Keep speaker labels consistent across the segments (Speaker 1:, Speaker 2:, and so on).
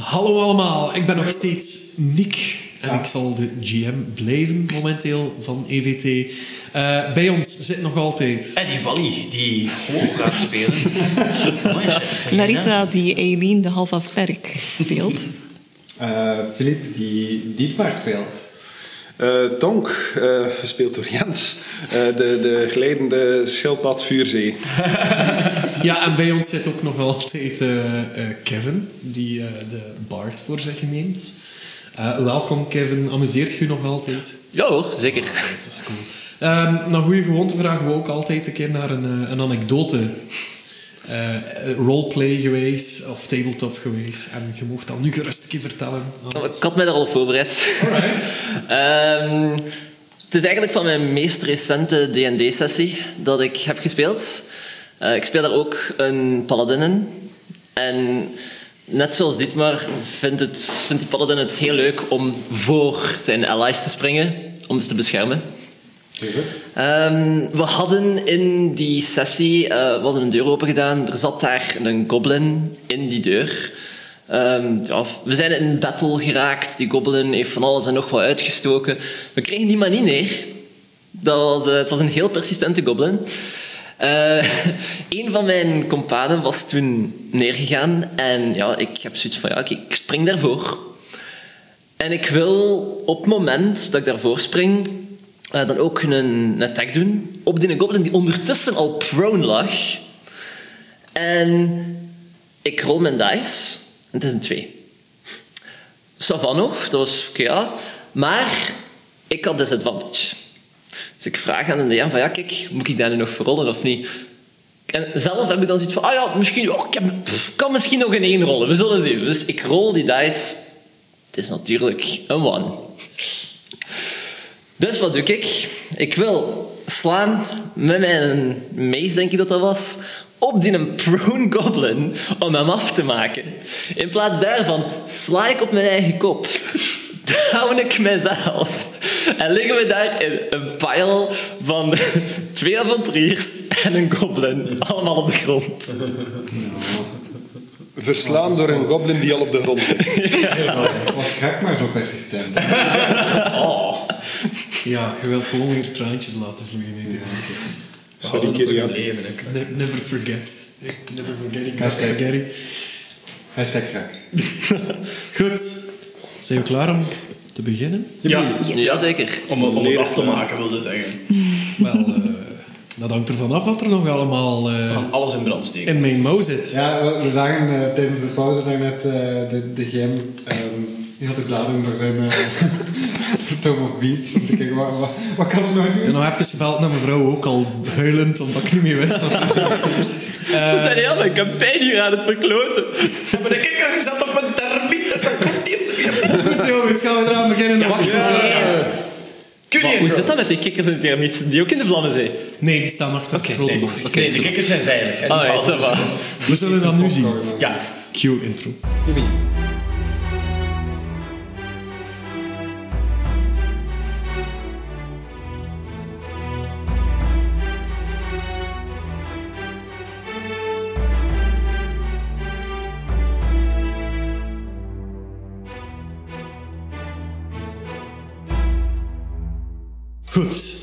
Speaker 1: Hallo allemaal, ik ben nog steeds Nick. En ik zal de GM blijven momenteel van EVT. Eh, bij ons zit nog altijd.
Speaker 2: En die Wally, die gewoon gaat spelen. Mooi, zeg.
Speaker 3: Larissa die Eileen de half afwerk speelt.
Speaker 4: Eh, Filip, die Dietmar speelt.
Speaker 5: Eh, Tonk, eh, gespeeld door Jens. Eh, de, de glijdende schildpad vuurzee.
Speaker 1: Ja, en bij ons zit ook nog altijd eh, eh, Kevin, die eh, de Bart voor zich neemt. Eh, welkom Kevin, amuseert je nog altijd?
Speaker 2: Ja hoor, zeker.
Speaker 1: Dat is cool. Ehm naar goede gewoonte vragen we ook altijd een keer naar een, eh, een anekdote. Eh, roleplay geweest of tabletop geweest. En je mocht dat nu gerust een keer vertellen.
Speaker 2: Oh, Ik had mij daar al op voorbereid. Ehm, het is eigenlijk van mijn meest recente D&D-sessie dat ik heb gespeeld. Eh, ik speel daar ook een paladin in. En net zoals Dietmar vindt, het, vindt die paladin het heel leuk om voor zijn allies te springen. Om ze te beschermen. Ehm, we hadden in die sessie eh, we hadden een deur open gedaan. Er zat daar een goblin in die deur. Ehm, ja, we zijn in een battle geraakt. Die goblin heeft van alles en nog wat uitgestoken. We kregen die maar niet neer. Dat was, eh, het was een heel persistente goblin. Eh, een van mijn companen was toen neergegaan. En ja, ik heb zoiets van, ja, oké, ik spring daarvoor. En ik wil op het moment dat ik daarvoor spring, eh, dan ook een attack doen op die goblin die ondertussen al prone lag. En ik rol mijn dice. En het is een 2. Savano, dat was oké, ja. Maar ik had disadvantage. Dus ik vraag aan de DM van, ja kijk, moet ik daar nu nog voor rollen of niet? En zelf heb ik dan zoiets van, ah ja, misschien, oh, ik heb- pff, kan misschien nog een 1 rollen. We zullen zien. Dus ik rol die dice. Het is natuurlijk een 1. Dus wat doe ik? Ik wil slaan met mijn mace, denk ik dat dat was, op die een prone goblin om hem af te maken. In plaats daarvan sla ik op mijn eigen kop. Down ik mezelf. En liggen we daar in een pile van twee avonturiers en een goblin. Allemaal op de grond.
Speaker 5: Verslaan door een goblin die al op de grond zit.
Speaker 4: Ik was gek, maar zo persistent.
Speaker 1: Ja, je wilt gewoon weer traantjes laten vloeien. hè.
Speaker 5: Sorry, Kirian.
Speaker 1: Ne- never forget. Never forget, ik
Speaker 4: Hashtag.
Speaker 1: forget. it.
Speaker 4: Hashtag gek.
Speaker 1: Goed, zijn we klaar om te beginnen?
Speaker 6: Ja,
Speaker 2: Jazeker.
Speaker 6: om, om het af te maken wilde zeggen.
Speaker 1: Wel, eh, dat hangt ervan af wat er nog allemaal eh,
Speaker 6: Van alles in brand steken.
Speaker 1: in mijn mouw zit.
Speaker 4: Ja, we, we zagen eh, tijdens de pauze daarnet eh de, de GM, ehm, die had de bladeren door zijn eh, Tom of Beats. Om te kijken, wat, wat, wat kan er nou
Speaker 1: Ik
Speaker 4: doen?
Speaker 1: heb nog even gebeld naar mevrouw, ook al huilend, omdat ik niet meer wist dat er iets stond.
Speaker 6: Eh.
Speaker 2: Ze zijn heel mijn campagne hier aan het verkloten.
Speaker 6: Ze hebben de kikker gezet op een termiet en dan komt die er weer.
Speaker 1: Goed jongens, gaan we eraan beginnen?
Speaker 6: Kun je
Speaker 2: Hoe zit dat met die kikkers en die termieten die ook in de vlammen zijn?
Speaker 1: Nee, die staan achter de grote
Speaker 2: nee.
Speaker 1: box. Oké,
Speaker 6: Nee, de kikkers zijn veilig. En
Speaker 2: Ah,
Speaker 6: die
Speaker 2: ja,
Speaker 6: vallen.
Speaker 2: ça va.
Speaker 1: We zullen dat nu zien.
Speaker 6: Ja.
Speaker 1: Cue intro. Goed.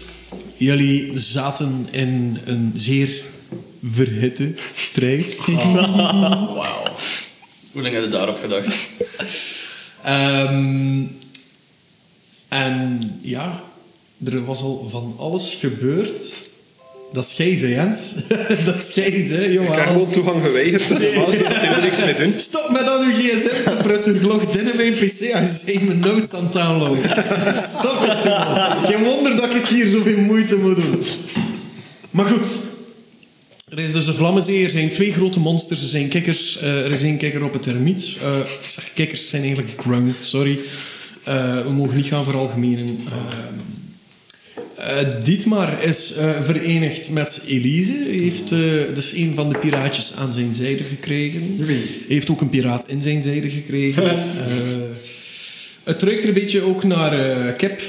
Speaker 1: Jullie zaten in een zeer verhitte strijd.
Speaker 6: Wauw. Hoe lang heb je daarop gedacht?
Speaker 1: Ehm, en ja, er was al van alles gebeurd. Dat is gijs, hè, Jens? dat is gijs, hè,
Speaker 5: Ik heb
Speaker 1: jongen.
Speaker 5: gewoon toegang geweigerd. Dat is normaal, daar kunnen we niks mee doen.
Speaker 1: Stop met aan uw gsm te prutsen. Ik log in in mijn pc en ze zijn mijn notes aan het downloaden. Stop het gewoon. Geen wonder dat ik hier zoveel moeite moet doen. Maar goed. Er is dus een vlammenzee, er zijn twee grote monsters, er zijn kikkers, eh, er is één kikker op het termiet. Eh, ik zeg kikkers, het zijn eigenlijk grung, sorry. Eh, we mogen niet gaan veralgemenen. Ehm, eh, Dietmar is eh, verenigd met Elise. Hij heeft eh, dus een van de piraatjes aan zijn zijde gekregen. Hij heeft ook een piraat in zijn zijde gekregen. Eh, het ruikt er een beetje ook naar eh Kip.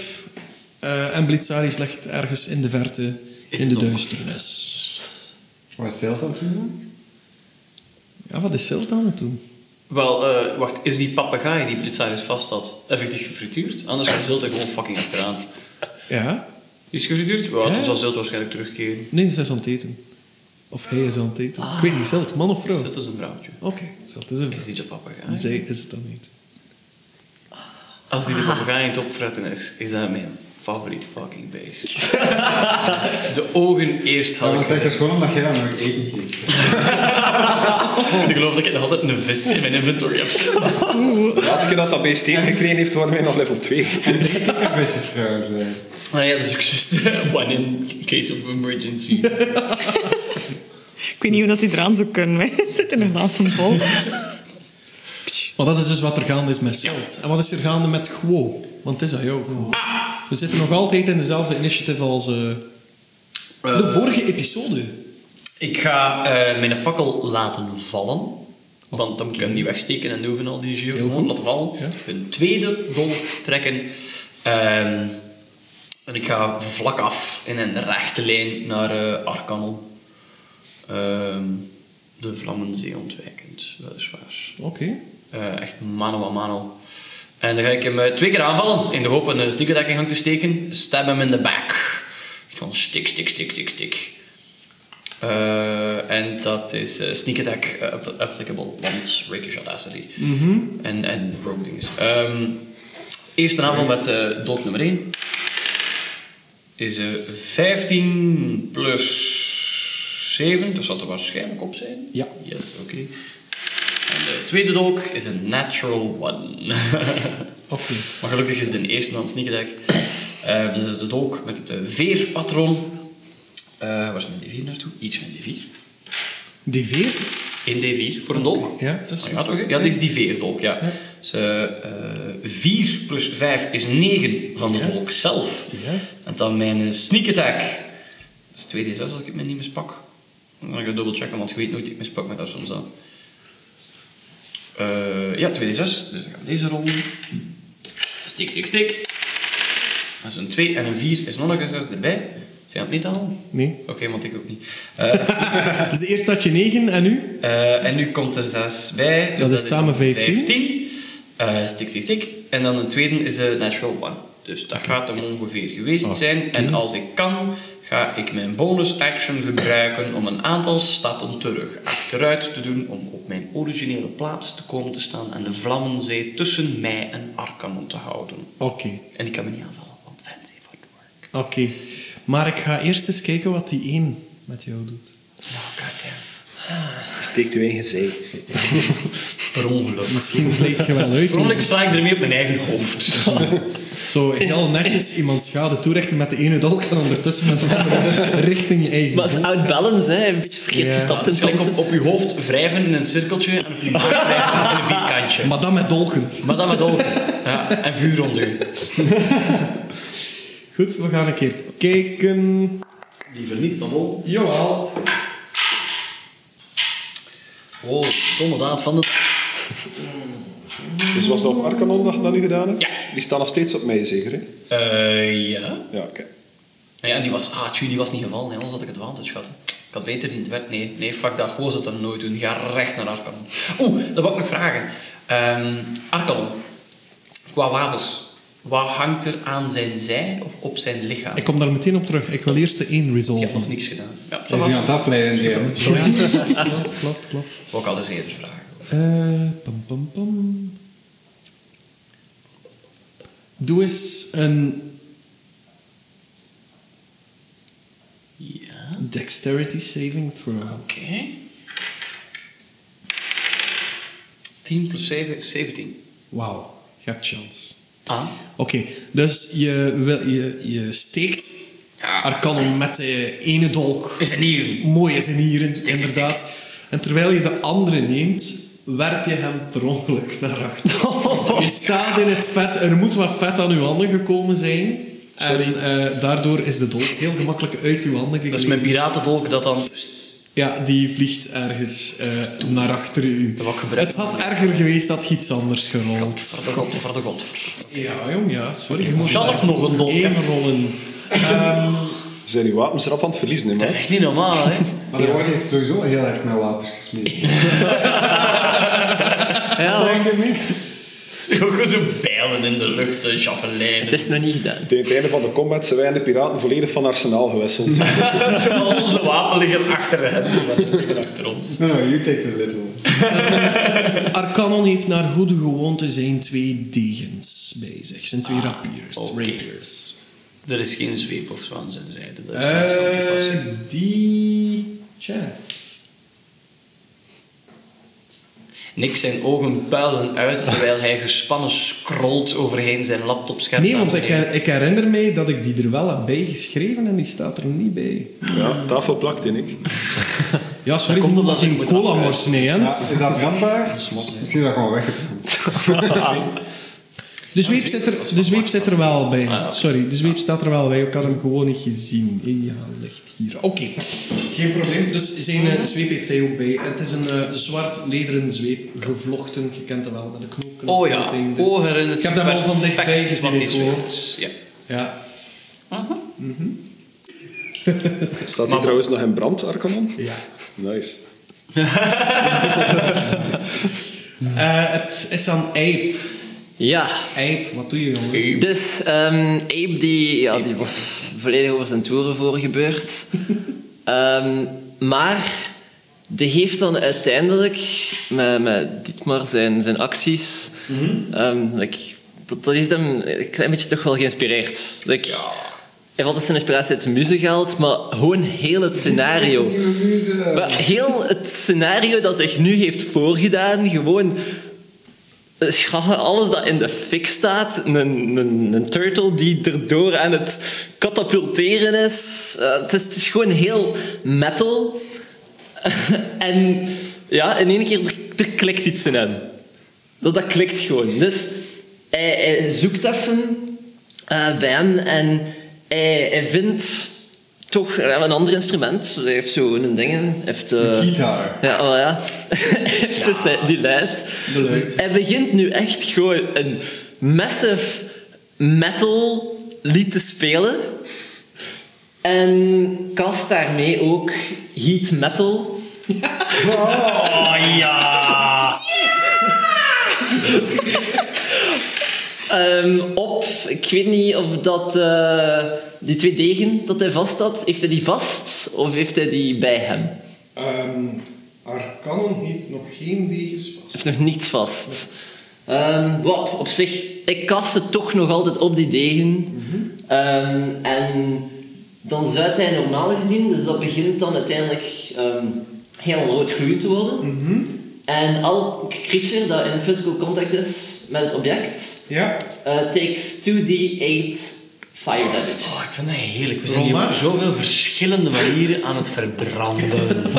Speaker 1: Eh, en Blitzaris ligt ergens in de verte, in de duisternis.
Speaker 4: Wat stelt dat toen?
Speaker 1: Ja, wat is Silt aan het doen?
Speaker 6: Wel, eh, wacht, is die papegaai die Blitzarius vast had effectief gefrituurd? Anders gaat Zilt er gewoon fucking achteraan.
Speaker 1: Ja?
Speaker 6: Die is gefrituurd? Wel,
Speaker 1: Ja.
Speaker 6: dan zal Zilt waarschijnlijk terugkeren.
Speaker 1: Nee, ze is aan het eten. Of hij is aan het eten. Ik weet niet, zelf, man of vrouw?
Speaker 6: Zilt
Speaker 1: Oké,
Speaker 6: is een vrouwtje.
Speaker 1: zelf is een
Speaker 6: Is
Speaker 1: vrouw.
Speaker 6: die de papegaai?
Speaker 1: Zij is het dan niet.
Speaker 6: Als die de papegaai aan het opfretten is, is dat mijn favoriet fucking beest. de ogen eerst
Speaker 4: Ja,
Speaker 6: had
Speaker 4: maar
Speaker 6: ik
Speaker 4: zeg dat is
Speaker 6: gezegd.
Speaker 4: gewoon omdat jij dat nog eten geeft.
Speaker 6: Ik geloof dat ik nog altijd een vis in mijn inventory heb zitten.
Speaker 5: De laatste keer dat dat beest gekregen heeft, waren wij nog level 2.
Speaker 4: Visjes trouwens. eh.
Speaker 6: Nou ja, dat is ook juist. One in case of emergency. Eh,
Speaker 3: Ik weet niet hoe dat die eraan zou kunnen. hè. Zit in een glaas van vol.
Speaker 1: Maar dat is dus wat er gaande is met Selt. En wat is er gaande met Guo? Want het is aan jou, Guo. We zitten nog altijd in dezelfde initiative als eh, de vorige episode.
Speaker 6: Ik ga eh, mijn fakkel laten vallen. Want dan kan ik hem niet wegsteken en doven al die jeu.
Speaker 1: Oh. Heel
Speaker 6: Gewoon
Speaker 1: goed.
Speaker 6: laten vallen.
Speaker 1: Ja.
Speaker 6: Een tweede dol trekken. Ehm, en ik ga vlak af in een rechte lijn naar eh Arcanel. Ehm, de Vlammenzee ontwijkend, weliswaar.
Speaker 1: Oké.
Speaker 6: Eh, echt mano a mano. En dan ga ik hem eh, twee keer aanvallen in de hoop een eh, sneakerdekking hang te steken. Stab hem in de back. Gewoon stik, stik, stik, stik, stik. Eh, en dat is eh, sneak attack eh, app- applicable, want Rakish Audacity. En, en rogue dinges. Ehm, eerste aanval met eh dood nummer 1. Is eh 15 plus 7, dus zal er waarschijnlijk op zijn.
Speaker 1: Ja.
Speaker 6: Yes, oké. En de tweede dolk is een natural one.
Speaker 1: Oké.
Speaker 6: maar gelukkig is het een eerste dan sneak attack. Eh, dus dat is de dolk met het eh, veerpatroon. Eh, waar is mijn D4 naartoe? Iets met D4.
Speaker 1: Die vier?
Speaker 6: 1 D4 voor een dolk.
Speaker 1: Ja, dat is-
Speaker 6: Oh, ja, toch? hè? Ja, dit is die veerdolk, ja.
Speaker 1: Ja.
Speaker 6: Dus, eh, eh, 4 plus 5 is 9 van de
Speaker 1: Ja.
Speaker 6: dolk zelf.
Speaker 1: Ja.
Speaker 6: En dan mijn eh, sneak attack. Dat is 2d6 als ik het mij niet mispak. Dan ga ik het dubbel checken, want je weet nooit, ik mispak me daar soms aan. Eh, ja, 2d6. Dus dan gaan we deze rollen. Stik, stik, stik. Dat is een 2 en een 4 is nog een 6 erbij. Zijn dat niet al?
Speaker 1: Nee.
Speaker 6: Oké, want ik ook niet. Eh,
Speaker 1: Dus eerst had je negen en nu?
Speaker 6: eh, en nu komt er 6 bij. dus
Speaker 1: Dat is samen 15.
Speaker 6: 15. Eh, stik, stik, stik. En dan de tweede is de natural one. Dus dat gaat hem ongeveer geweest
Speaker 1: Ah,
Speaker 6: zijn. En als ik kan, ga ik mijn bonus action gebruiken om een aantal stappen terug achteruit te doen. Om op mijn originele plaats te komen te staan en de Vlammenzee tussen mij en Arkanon te houden.
Speaker 1: Oké.
Speaker 6: En ik kan me niet aanvallen, want fancy footwork.
Speaker 1: Oké. Maar ik ga eerst eens kijken wat die één met jou doet.
Speaker 5: Steekt u eigen zij.
Speaker 6: Per ongeluk.
Speaker 1: Misschien kleed je wel uit.
Speaker 6: Per ongeluk sla ik ermee op mijn eigen hoofd.
Speaker 1: Zo heel netjes iemand schade toerechten met de ene dolk en ondertussen met de andere richting je eigen
Speaker 2: Maar het is
Speaker 1: dolk.
Speaker 2: out balance, hè. Een beetje verkeerd
Speaker 1: Ja.
Speaker 2: gestapt in
Speaker 6: Dus gelijk
Speaker 2: dansen.
Speaker 6: op, op je hoofd wrijven in een cirkeltje en op je maag wrijven in een vierkantje.
Speaker 1: Maar dan met dolken.
Speaker 6: Maar dan met ogen. Ja, en vuur onder u.
Speaker 1: Goed, we gaan een keer kijken.
Speaker 6: Liever niet, maar wel.
Speaker 1: Jawel.
Speaker 6: Oh, domme daad van de...
Speaker 5: Dus was dat op Arcanon dat je dat nu gedaan hebt?
Speaker 6: Ja.
Speaker 5: Die staan nog steeds op mij, zeker? Hè?
Speaker 6: Eh, ja.
Speaker 5: Ja, oké.
Speaker 6: Ja, en die was... Ah, tjoe, die was niet gevallen. hè, Anders had ik het advantage gehad. hè. Ik had beter niet het werd. Nee, nee, fuck dat. Goos het dan nooit doen. Ga recht naar Arkanon. Oeh, dat wou ik nog vragen. Ehm Arkanon. Qua wapens. Wat hangt er aan zijn zij of op zijn lichaam?
Speaker 1: Ik kom daar meteen op terug. Ik wil eerst de één
Speaker 6: Ik heb nog
Speaker 1: resolven.
Speaker 6: niks gedaan. Ja,
Speaker 4: Dus
Speaker 6: zo
Speaker 4: je aan het afleiden, Jim.
Speaker 1: Klopt, klopt, klopt.
Speaker 6: Wou ik al eens eerder vragen.
Speaker 1: Eh, pam, pam, pam. Doe eens een
Speaker 6: Ja.
Speaker 1: dexterity saving throw.
Speaker 6: Oké. 10 plus 7 is 17.
Speaker 1: Wauw, je hebt chance.
Speaker 6: Ah.
Speaker 1: Oké, dus je, wil- je, je steekt
Speaker 6: Ja.
Speaker 1: Arcanum met de ene dolk.
Speaker 6: Is een nieuw.
Speaker 1: Mooi is in hier,
Speaker 6: stik,
Speaker 1: inderdaad. En terwijl je de andere neemt, werp je hem per ongeluk naar achter. Je staat in het vet, er moet wat vet aan uw handen gekomen zijn. En eh, daardoor is de dolk heel gemakkelijk uit uw handen
Speaker 6: Dat
Speaker 1: gegleden.
Speaker 6: is mijn piratenvolk dat dan...
Speaker 1: Ja, die vliegt ergens eh, naar achter u.
Speaker 6: Wat gebruik-
Speaker 1: Het had erger geweest had je iets anders gerold.
Speaker 6: Voor de god, voor de god.
Speaker 1: Ja, jong, ja, sorry. Je moet
Speaker 6: Zal ik nog een dolk
Speaker 1: één
Speaker 6: hebben?
Speaker 1: rollen. Ehm,
Speaker 5: Ze Zijn die wapens rap aan het verliezen, hè,
Speaker 6: Dat is
Speaker 5: man?
Speaker 6: echt niet normaal, hè?
Speaker 4: Maar er wordt hier sowieso heel erg met wapens gesmeed.
Speaker 2: Ja.
Speaker 4: Denk je mee?
Speaker 6: Ook zo bijlen in de lucht, de javelijn.
Speaker 2: Het is nog niet gedaan.
Speaker 5: Tegen het einde van de combat zijn wij en de piraten volledig van arsenaal gewisseld.
Speaker 6: Al onze wapen liggen achter hen. Die liggen achter ons.
Speaker 4: No, no, you take the little.
Speaker 1: Arcanon heeft naar goede gewoonte zijn twee degens bij zich. Zijn twee rapiers,
Speaker 6: Ah, oké.
Speaker 1: rapiers.
Speaker 6: Er is geen zweep of zo aan zijn zijde. Dus Dat is niet van toepassing.
Speaker 1: Eh die... Tja.
Speaker 6: Nick zijn ogen puilden uit terwijl hij gespannen scrolt overheen zijn laptopscherm.
Speaker 1: Nee, want ik,
Speaker 6: Naar beneden.
Speaker 1: ik herinner mij dat ik die er wel heb bij geschreven en die staat er niet bij.
Speaker 5: Ja, tafel plakt in ik.
Speaker 1: Ja, sorry, ik
Speaker 6: Dat komt
Speaker 1: moet
Speaker 6: omdat ik
Speaker 1: geen
Speaker 6: moet
Speaker 1: cola
Speaker 6: afwerken.
Speaker 1: morsen, hè,
Speaker 4: Ja,
Speaker 1: Jens.
Speaker 4: is dat brandbaar?
Speaker 6: Smos, hè.
Speaker 4: Misschien dat gewoon weg.
Speaker 1: De zweep zit er, de zweep zit er wel bij.
Speaker 6: Ah, ja. Hm.
Speaker 1: Sorry, de zweep staat er wel bij. Ik had hem gewoon niet gezien. Ja, ligt hier. Oké, geen probleem. Dus zijn eh, zweep heeft hij ook bij. Het is een eh, zwart lederen zweep, gevlochten. Je kent het wel, met de knopen.
Speaker 6: Oh ja,
Speaker 1: ketting, de-
Speaker 6: oh herinnert
Speaker 1: Ik heb dat al van
Speaker 6: perfect
Speaker 1: dichtbij gezien,
Speaker 6: wat die
Speaker 1: ik hoor.
Speaker 6: zweep. Ja.
Speaker 1: Ja.
Speaker 5: Staat die trouwens nog in brand, Arcanon?
Speaker 1: ja.
Speaker 5: Nice.
Speaker 1: Eh, het is aan Ape.
Speaker 2: Ja,
Speaker 1: Ape, wat doe je, jongen?
Speaker 2: Dus ehm Abe die, ja, die was volledig over zijn toeren voor gebeurd. Ehm, maar die heeft dan uiteindelijk met, met Dietmar zijn, zijn acties. ehm, like, dat, dat heeft hem een klein beetje toch wel geïnspireerd. Like, Hij valt zijn inspiratie uit zijn muze geld, maar gewoon heel het scenario. Maar heel het scenario dat zich nu heeft voorgedaan, gewoon schaffen, alles dat in de fik staat. Een, een, een turtle die erdoor aan het katapulteren is. Eh, het is. Het is gewoon heel metal. en ja, in één keer er, er klikt iets in hem. Dat, dat klikt gewoon. Dus hij, hij zoekt even eh, bij hem en hij, hij vindt toch eh, een ander instrument. Hij heeft zo een ding. hij Heeft, eh,
Speaker 4: Gitaar.
Speaker 2: ja, oh ja. Heeft dus hij- die leidt.
Speaker 1: luid.
Speaker 2: Hij begint nu echt gewoon een massive metal lied te spelen. En kast daarmee ook heat metal.
Speaker 6: Oh ja!
Speaker 2: Ehm, op, ik weet niet of dat eh, die twee degen dat hij vast had, heeft hij die vast of heeft hij die bij hem? Hij
Speaker 1: Ehm Arcanon heeft nog geen degens vast.
Speaker 2: heeft nog niets vast. Ehm, wat op zich, ik kast het toch nog altijd op die degen. Ehm, en dan zuidt hij normaal gezien, dus dat begint dan uiteindelijk ehm heel rood gloeiend te worden. En al creature dat in physical contact is met het object,
Speaker 1: Ja.
Speaker 2: Uh, takes 2d8 fire damage.
Speaker 6: Oh, ik vind dat heerlijk. We zijn hier
Speaker 1: Roma?
Speaker 6: op zoveel verschillende manieren aan het verbranden.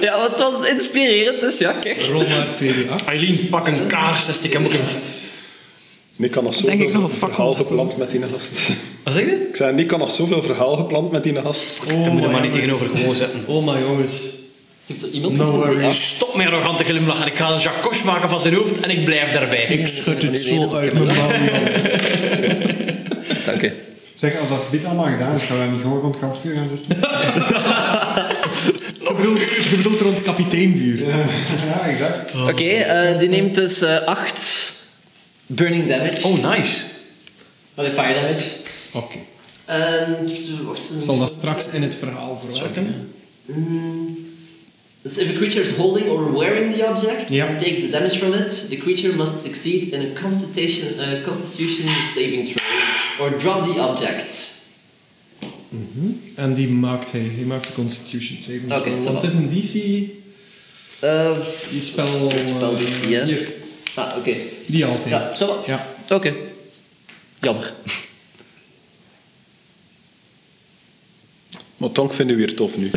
Speaker 2: Ja, want dat was inspirerend, dus ja, kijk.
Speaker 1: Rol maar 2d8.
Speaker 6: Eileen, pak een kaars, dat stik hem ook in.
Speaker 5: Nick kan nog
Speaker 3: Denk ik
Speaker 5: zoveel
Speaker 3: nog een
Speaker 5: verhaal
Speaker 3: fucking-
Speaker 5: gepland met die gast.
Speaker 6: Wat zeg je?
Speaker 5: Ik zei, Nick kan nog zoveel verhaal gepland met die gast.
Speaker 1: Oh,
Speaker 6: Je moet hem maar niet
Speaker 1: jongens.
Speaker 6: tegenover gewoon zetten.
Speaker 1: Oh, maar jongens.
Speaker 2: Heeft er iemand
Speaker 1: No
Speaker 2: een
Speaker 1: worries.
Speaker 6: Stop mijn arrogante glimlach en ik ga een jacos maken van zijn hoofd en ik blijf daarbij.
Speaker 1: Ik schud het
Speaker 2: Nee, nee,
Speaker 1: zo
Speaker 2: dat
Speaker 1: uit
Speaker 2: kan
Speaker 1: mijn mouw, jongen.
Speaker 2: idee? Dank je.
Speaker 4: Zeg, als dat dit allemaal gedaan is, gaan we dan niet gewoon rond kampvuur gaan zitten?
Speaker 1: Je bedoelt, je bedoelt rond kapiteinvuur.
Speaker 4: ja, exact.
Speaker 2: Oké, eh, die neemt dus eh 8 burning damage.
Speaker 6: Oh, nice.
Speaker 2: Allee, fire damage.
Speaker 1: Oké.
Speaker 2: En, wacht, Ehm, een-
Speaker 1: Ik zal dat straks in het verhaal verwerken.
Speaker 2: Mm. Dus if a creature is holding or wearing the object
Speaker 1: Ja.
Speaker 2: and takes the damage from it, the creature must succeed in a constitution, eh, constitution saving throw or drop the object.
Speaker 1: En die maakt hij. Hij maakt de Constitution saving
Speaker 2: Oké,
Speaker 1: throw.
Speaker 2: dat
Speaker 1: Want
Speaker 2: wel.
Speaker 1: het is een DC...
Speaker 2: Eh,
Speaker 1: Die spel... eh,
Speaker 2: Spel DC, hè?
Speaker 1: hier.
Speaker 2: ah, oké.
Speaker 1: Die altijd.
Speaker 2: Ja, zo wel.
Speaker 1: Ja.
Speaker 2: Oké. Jammer.
Speaker 5: Maar Tonk vinden we weer tof nu.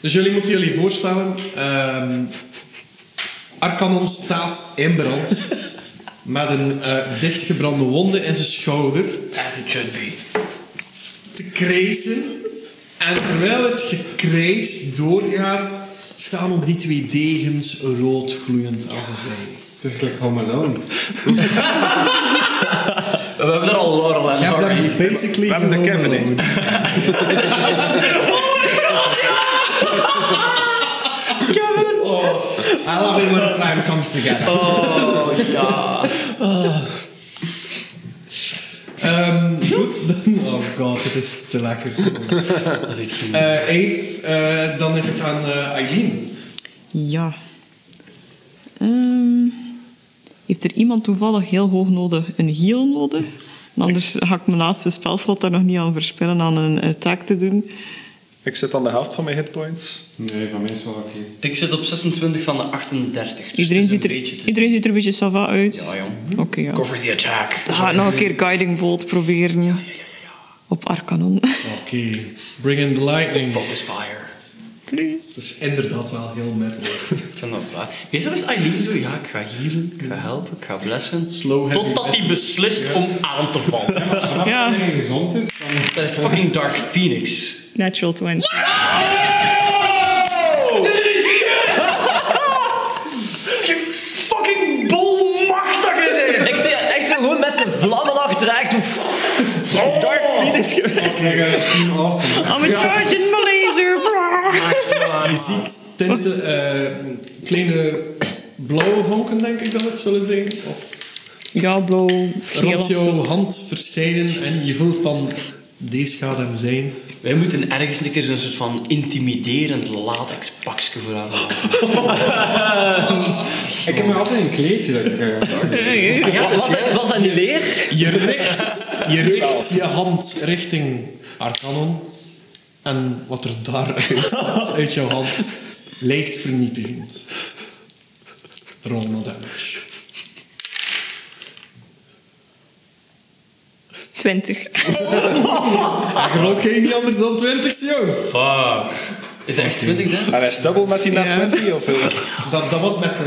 Speaker 1: Dus jullie moeten jullie voorstellen... ehm Arcanon staat in brand. met een eh, dichtgebrande wonde in zijn schouder.
Speaker 6: As it should be.
Speaker 1: te krijsen. En terwijl het gekrijs doorgaat, staan ook die twee degens rood gloeiend als een zwijg.
Speaker 4: Het is gelijk Home Alone.
Speaker 6: We hebben er al Laurel en
Speaker 1: Je hebt
Speaker 6: Hardy.
Speaker 1: daar basically
Speaker 5: We hebben de
Speaker 1: gewoon eh,
Speaker 5: Kevin in.
Speaker 1: beloofd.
Speaker 6: Oh my god!
Speaker 1: Oh, I love it when a plan comes together.
Speaker 6: Oh, ja.
Speaker 1: Ehm, goed, dan... Oh god, dit is te lekker. Eh Abe, eh, dan is het aan eh, Eileen.
Speaker 3: Ja. Ehm, heeft er iemand toevallig heel hoog nodig een heal nodig? Want Anders ga ik mijn laatste spelslot daar nog niet aan verspillen aan een attack te doen.
Speaker 5: Ik zit aan de helft van mijn hitpoints.
Speaker 4: Nee, van mij is wel oké.
Speaker 6: Ik zit op 26 van de 38. Dus het
Speaker 3: Iedereen,
Speaker 6: is
Speaker 3: ziet
Speaker 6: een
Speaker 3: er,
Speaker 6: beetje... te-
Speaker 3: iedereen ziet er een beetje sava uit.
Speaker 6: Ja, jong.
Speaker 3: Oké, ja.
Speaker 6: Cover the attack.
Speaker 3: Dan ga ik nog een keer Guiding Bolt proberen. Ja. Op Arcanon.
Speaker 1: Oké, bring in the lightning.
Speaker 6: Focus fire.
Speaker 3: Please.
Speaker 1: Dat is inderdaad wel heel metal.
Speaker 6: Ik vind dat waar. Meestal is Eileen zo, ja, ik ga healen, ik ga helpen, ik ga blessen.
Speaker 1: Slow heavy
Speaker 6: Totdat hij beslist om aan te vallen.
Speaker 3: Ja,
Speaker 4: Als iedereen gezond is, dan...
Speaker 6: Dat is fucking Dark Phoenix.
Speaker 3: natural 20.
Speaker 6: Je fucking bolmachtige zijn!
Speaker 2: Ik zie echt zo gewoon met de vlammen achteruit.
Speaker 1: Oh.
Speaker 2: Dark Phoenix geweest.
Speaker 4: Ik heb eh, Team Austin.
Speaker 3: I'm charging my laser.
Speaker 1: Je ziet tinten, eh, kleine blauwe vonken, denk ik dat het zullen zijn. Of
Speaker 3: Ja, blauw,
Speaker 1: rond
Speaker 3: geel.
Speaker 1: jouw hand verschijnen en je voelt van... Deze gaat hem zijn.
Speaker 6: Wij moeten ergens een keer een soort van intimiderend latexpakje voor haar maken.
Speaker 4: Ik heb me altijd een kleedje dat ik... eh,
Speaker 6: Ah,
Speaker 2: Wa- Was dat, was dat niet leer?
Speaker 1: Je richt, je richt je hand richting Arcanon. En wat er daaruit komt, uit jouw hand, lijkt vernietigend. Roll no damage.
Speaker 3: 20.
Speaker 1: En je rolt geen niet anders dan 20, joh.
Speaker 6: Fuck. Is dat echt 20 dan?
Speaker 5: En hij is dubbel met die net
Speaker 3: Ja.
Speaker 5: 20 of wil ik?
Speaker 1: Dat, dat was met eh,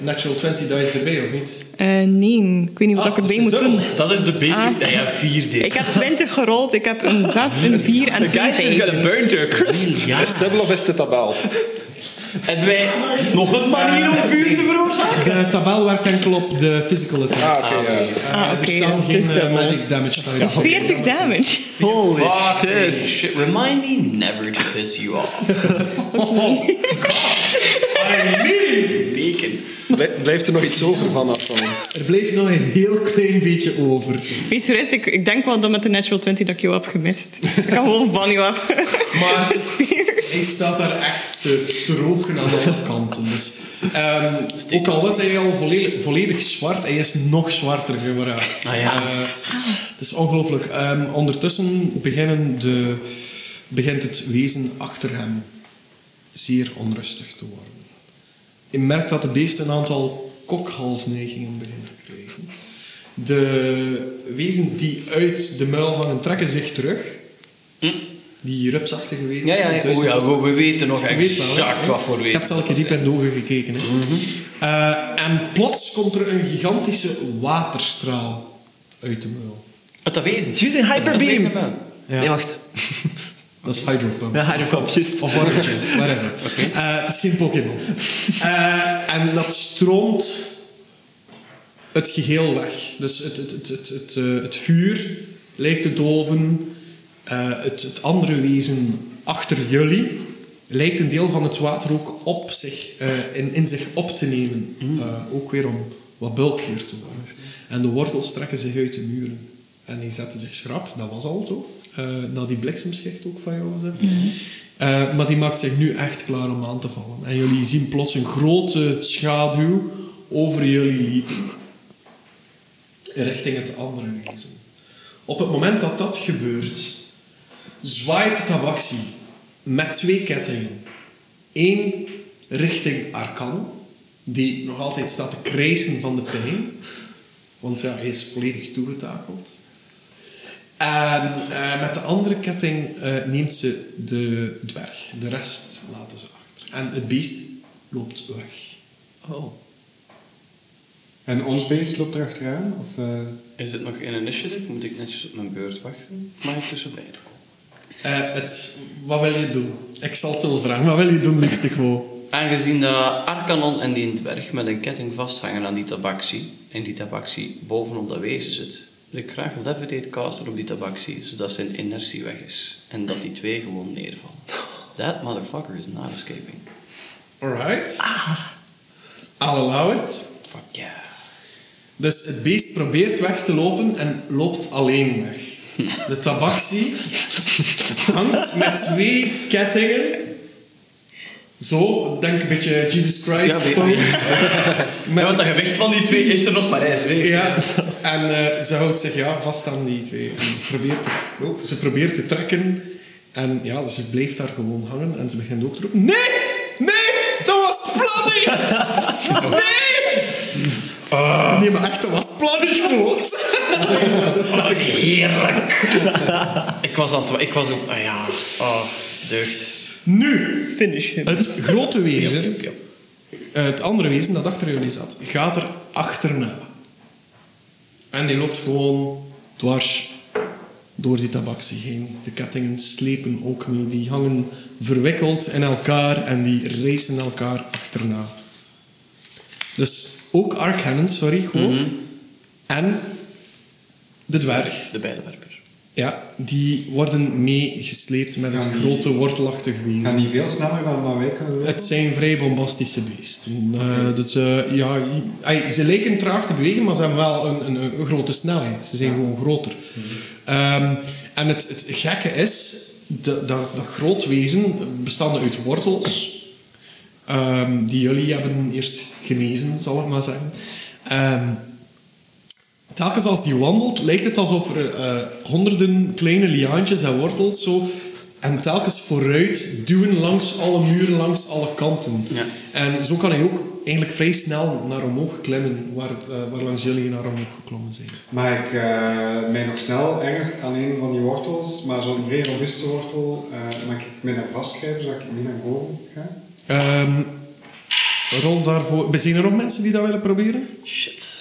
Speaker 1: Natural 20, dat is erbij, of niet?
Speaker 3: Eh, nee, ik weet niet of
Speaker 1: Ah,
Speaker 3: ik erbij
Speaker 1: dus
Speaker 3: moet
Speaker 1: dubbel.
Speaker 3: doen.
Speaker 6: Dat is de basic.
Speaker 3: Ah.
Speaker 6: dat Ja, 4D.
Speaker 3: Ik heb 20 gerold, ik heb een 6, een 4 en
Speaker 2: The guy is
Speaker 3: een
Speaker 2: gonna burn to a crisp.
Speaker 6: ja.
Speaker 5: Is het dubbel of is het tabel?
Speaker 6: Hebben wij nog een manier om vuur te veroorzaken?
Speaker 1: De tabel werkt enkel op de physical attack.
Speaker 5: Ah, oké. ja.
Speaker 3: Ah, oké,
Speaker 1: er staan
Speaker 3: dus
Speaker 1: geen
Speaker 3: het is
Speaker 1: eh,
Speaker 3: dubbel.
Speaker 1: magic damage types.
Speaker 3: 40 damage.
Speaker 2: Holy
Speaker 6: Fuck
Speaker 2: shit.
Speaker 6: me, shit. Remind me never to piss you off. Bacon.
Speaker 5: Blij- Blijft er nog iets over van dat dan?
Speaker 1: Er bleef nog een heel klein beetje over.
Speaker 3: Wees gerust, ik, ik denk wel dat met de natural 20 dat ik jou heb gemist. Ik kan gewoon van jou hebben.
Speaker 1: Maar-
Speaker 3: Spears.
Speaker 1: Hij staat daar echt te, te roken aan alle kanten. Dus, ehm, ook al was hij al volledig, volledig zwart, hij is nog zwarter geraakt.
Speaker 6: Ah, ja.
Speaker 1: Eh, het is ongelooflijk. Ehm, ondertussen beginnen de, begint het wezen achter hem zeer onrustig te worden. Je merkt dat de beest een aantal kokhalsneigingen begint te krijgen. De wezens die uit de muil hangen, trekken zich terug. Die rupsachtige wezens.
Speaker 6: Hm? Ja, ja,
Speaker 1: zijn
Speaker 6: ja.
Speaker 1: thuis
Speaker 6: Oh ja,
Speaker 1: met de-
Speaker 6: we- we weten nog
Speaker 1: Je weet wel, hè?
Speaker 6: exact wat voor
Speaker 1: Ik heb
Speaker 6: wezens. Mhm.
Speaker 1: zelf keer diep in de ogen gekeken. Hè. Eh, en plots komt er een gigantische waterstraal uit de muil.
Speaker 6: Wat dat wezen?
Speaker 2: Using hyperbeam.
Speaker 6: Dat is niks
Speaker 1: Ja.
Speaker 2: Nee, wacht.
Speaker 1: Dat is Hydropump.
Speaker 2: Ja, hyperbeam, juist.
Speaker 1: Of Orange Jet, whatever. Eh, het is geen Pokémon. Eh, en dat stroomt het geheel weg. Dus het, het, het, het, het, eh, het vuur lijkt te doven. Eh, het, het andere wezen achter jullie lijkt een deel van het water ook op zich, eh, in, in zich op te nemen. Eh, ook weer om wat bulkier te worden. En de wortels trekken zich uit de muren. En die zetten zich schrap, dat was al zo. Eh na die bliksemschicht ook van jou was. hè. Eh, maar die maakt zich nu echt klaar om aan te vallen. En jullie zien plots een grote schaduw over jullie liepen richting het andere wezen. Op het moment dat dat gebeurt, zwaait de tabaxi met twee kettingen. Eén richting Arkan, die nog altijd staat te krijsen van de pijn, want ja, hij is volledig toegetakeld. En eh, met de andere ketting eh, neemt ze de dwerg. De rest laten ze achter. En het beest loopt weg.
Speaker 6: Oh.
Speaker 4: En ons beest loopt erachteraan? Of, eh,
Speaker 6: Is het nog in initiative? Moet ik netjes op mijn beurt wachten? Of mag ik tussen beiden komen?
Speaker 1: Eh, het, wat wil je doen? Ik zal het zo wel vragen. Wat wil je doen, liefste gewoon?
Speaker 6: Aangezien dat Arcanon en die dwerg met een ketting vasthangen aan die tabaxi, en die tabaxi bovenop dat wezen zit, wil ik graag een Levitate casten op die tabaxi, zodat zijn inertie weg is. En dat die twee gewoon neervallen. That motherfucker is not escaping.
Speaker 1: Alright. Ah. I'll allow it.
Speaker 6: Fuck yeah.
Speaker 1: Dus het beest probeert weg te lopen en loopt alleen weg. De tabaxi hangt met twee kettingen. Zo, denk een beetje Jesus Christ.
Speaker 6: Ja, die-
Speaker 1: pose.
Speaker 6: Ja, want
Speaker 1: met,
Speaker 6: dat gewicht van die twee is er nog maar eens, weet je.
Speaker 1: ja, en eh, ze houdt zich ja, vast aan die twee. En ze, probeert te, oh, ze probeert te trekken. En ja, dus ze blijft daar gewoon hangen. En ze begint ook te roepen... Nee! Nee! Dat was het plan niet! Nee! Nee, maar echt, dat was het plan niet gewoon.
Speaker 6: Oh, heerlijk. ik was aan het... Ik was ook... Ah ja. Oh, deugd.
Speaker 1: Nu,
Speaker 3: Finish him.
Speaker 1: het grote wezen,
Speaker 6: Yep, yep.
Speaker 1: eh, het andere wezen dat achter jullie zat, gaat er achterna. En die loopt gewoon dwars door die tabaxi heen. De kettingen slepen ook mee. Die hangen verwikkeld in elkaar en die racen elkaar achterna. Dus ook Arcannon, sorry, gewoon. En de dwerg.
Speaker 6: De bijlenwerper.
Speaker 1: Ja, die worden meegesleept met het
Speaker 4: Kan die-
Speaker 1: grote wortelachtig wezen.
Speaker 4: Kan niet veel sneller dan dat wij kunnen lopen?
Speaker 1: Het zijn vrij bombastische beesten. Eh, dus eh, ja, i- ai, ze lijken traag te bewegen, maar ze hebben wel een, een, een grote snelheid. Ze zijn gewoon groter. Ehm, en het, het gekke is, dat, dat, dat groot wezen bestaande uit wortels, ehm, die jullie hebben eerst genezen, zal ik maar zeggen. Ehm, telkens als die wandelt, lijkt het alsof er eh, honderden kleine liaantjes en wortels zo en telkens vooruit duwen langs alle muren, langs alle kanten.
Speaker 6: Ja.
Speaker 1: En zo kan hij ook eigenlijk vrij snel naar omhoog klimmen, waar, eh, waar langs jullie naar omhoog geklommen zijn.
Speaker 4: Maar ik eh mij nog snel ergens aan een van die wortels, maar zo'n vrij robuuste wortel, eh maar ik mij daar vastgrijpen zodat ik niet naar boven ga.
Speaker 1: Ehm, rol daarvoor. Zijn er nog mensen die dat willen proberen?
Speaker 6: Shit.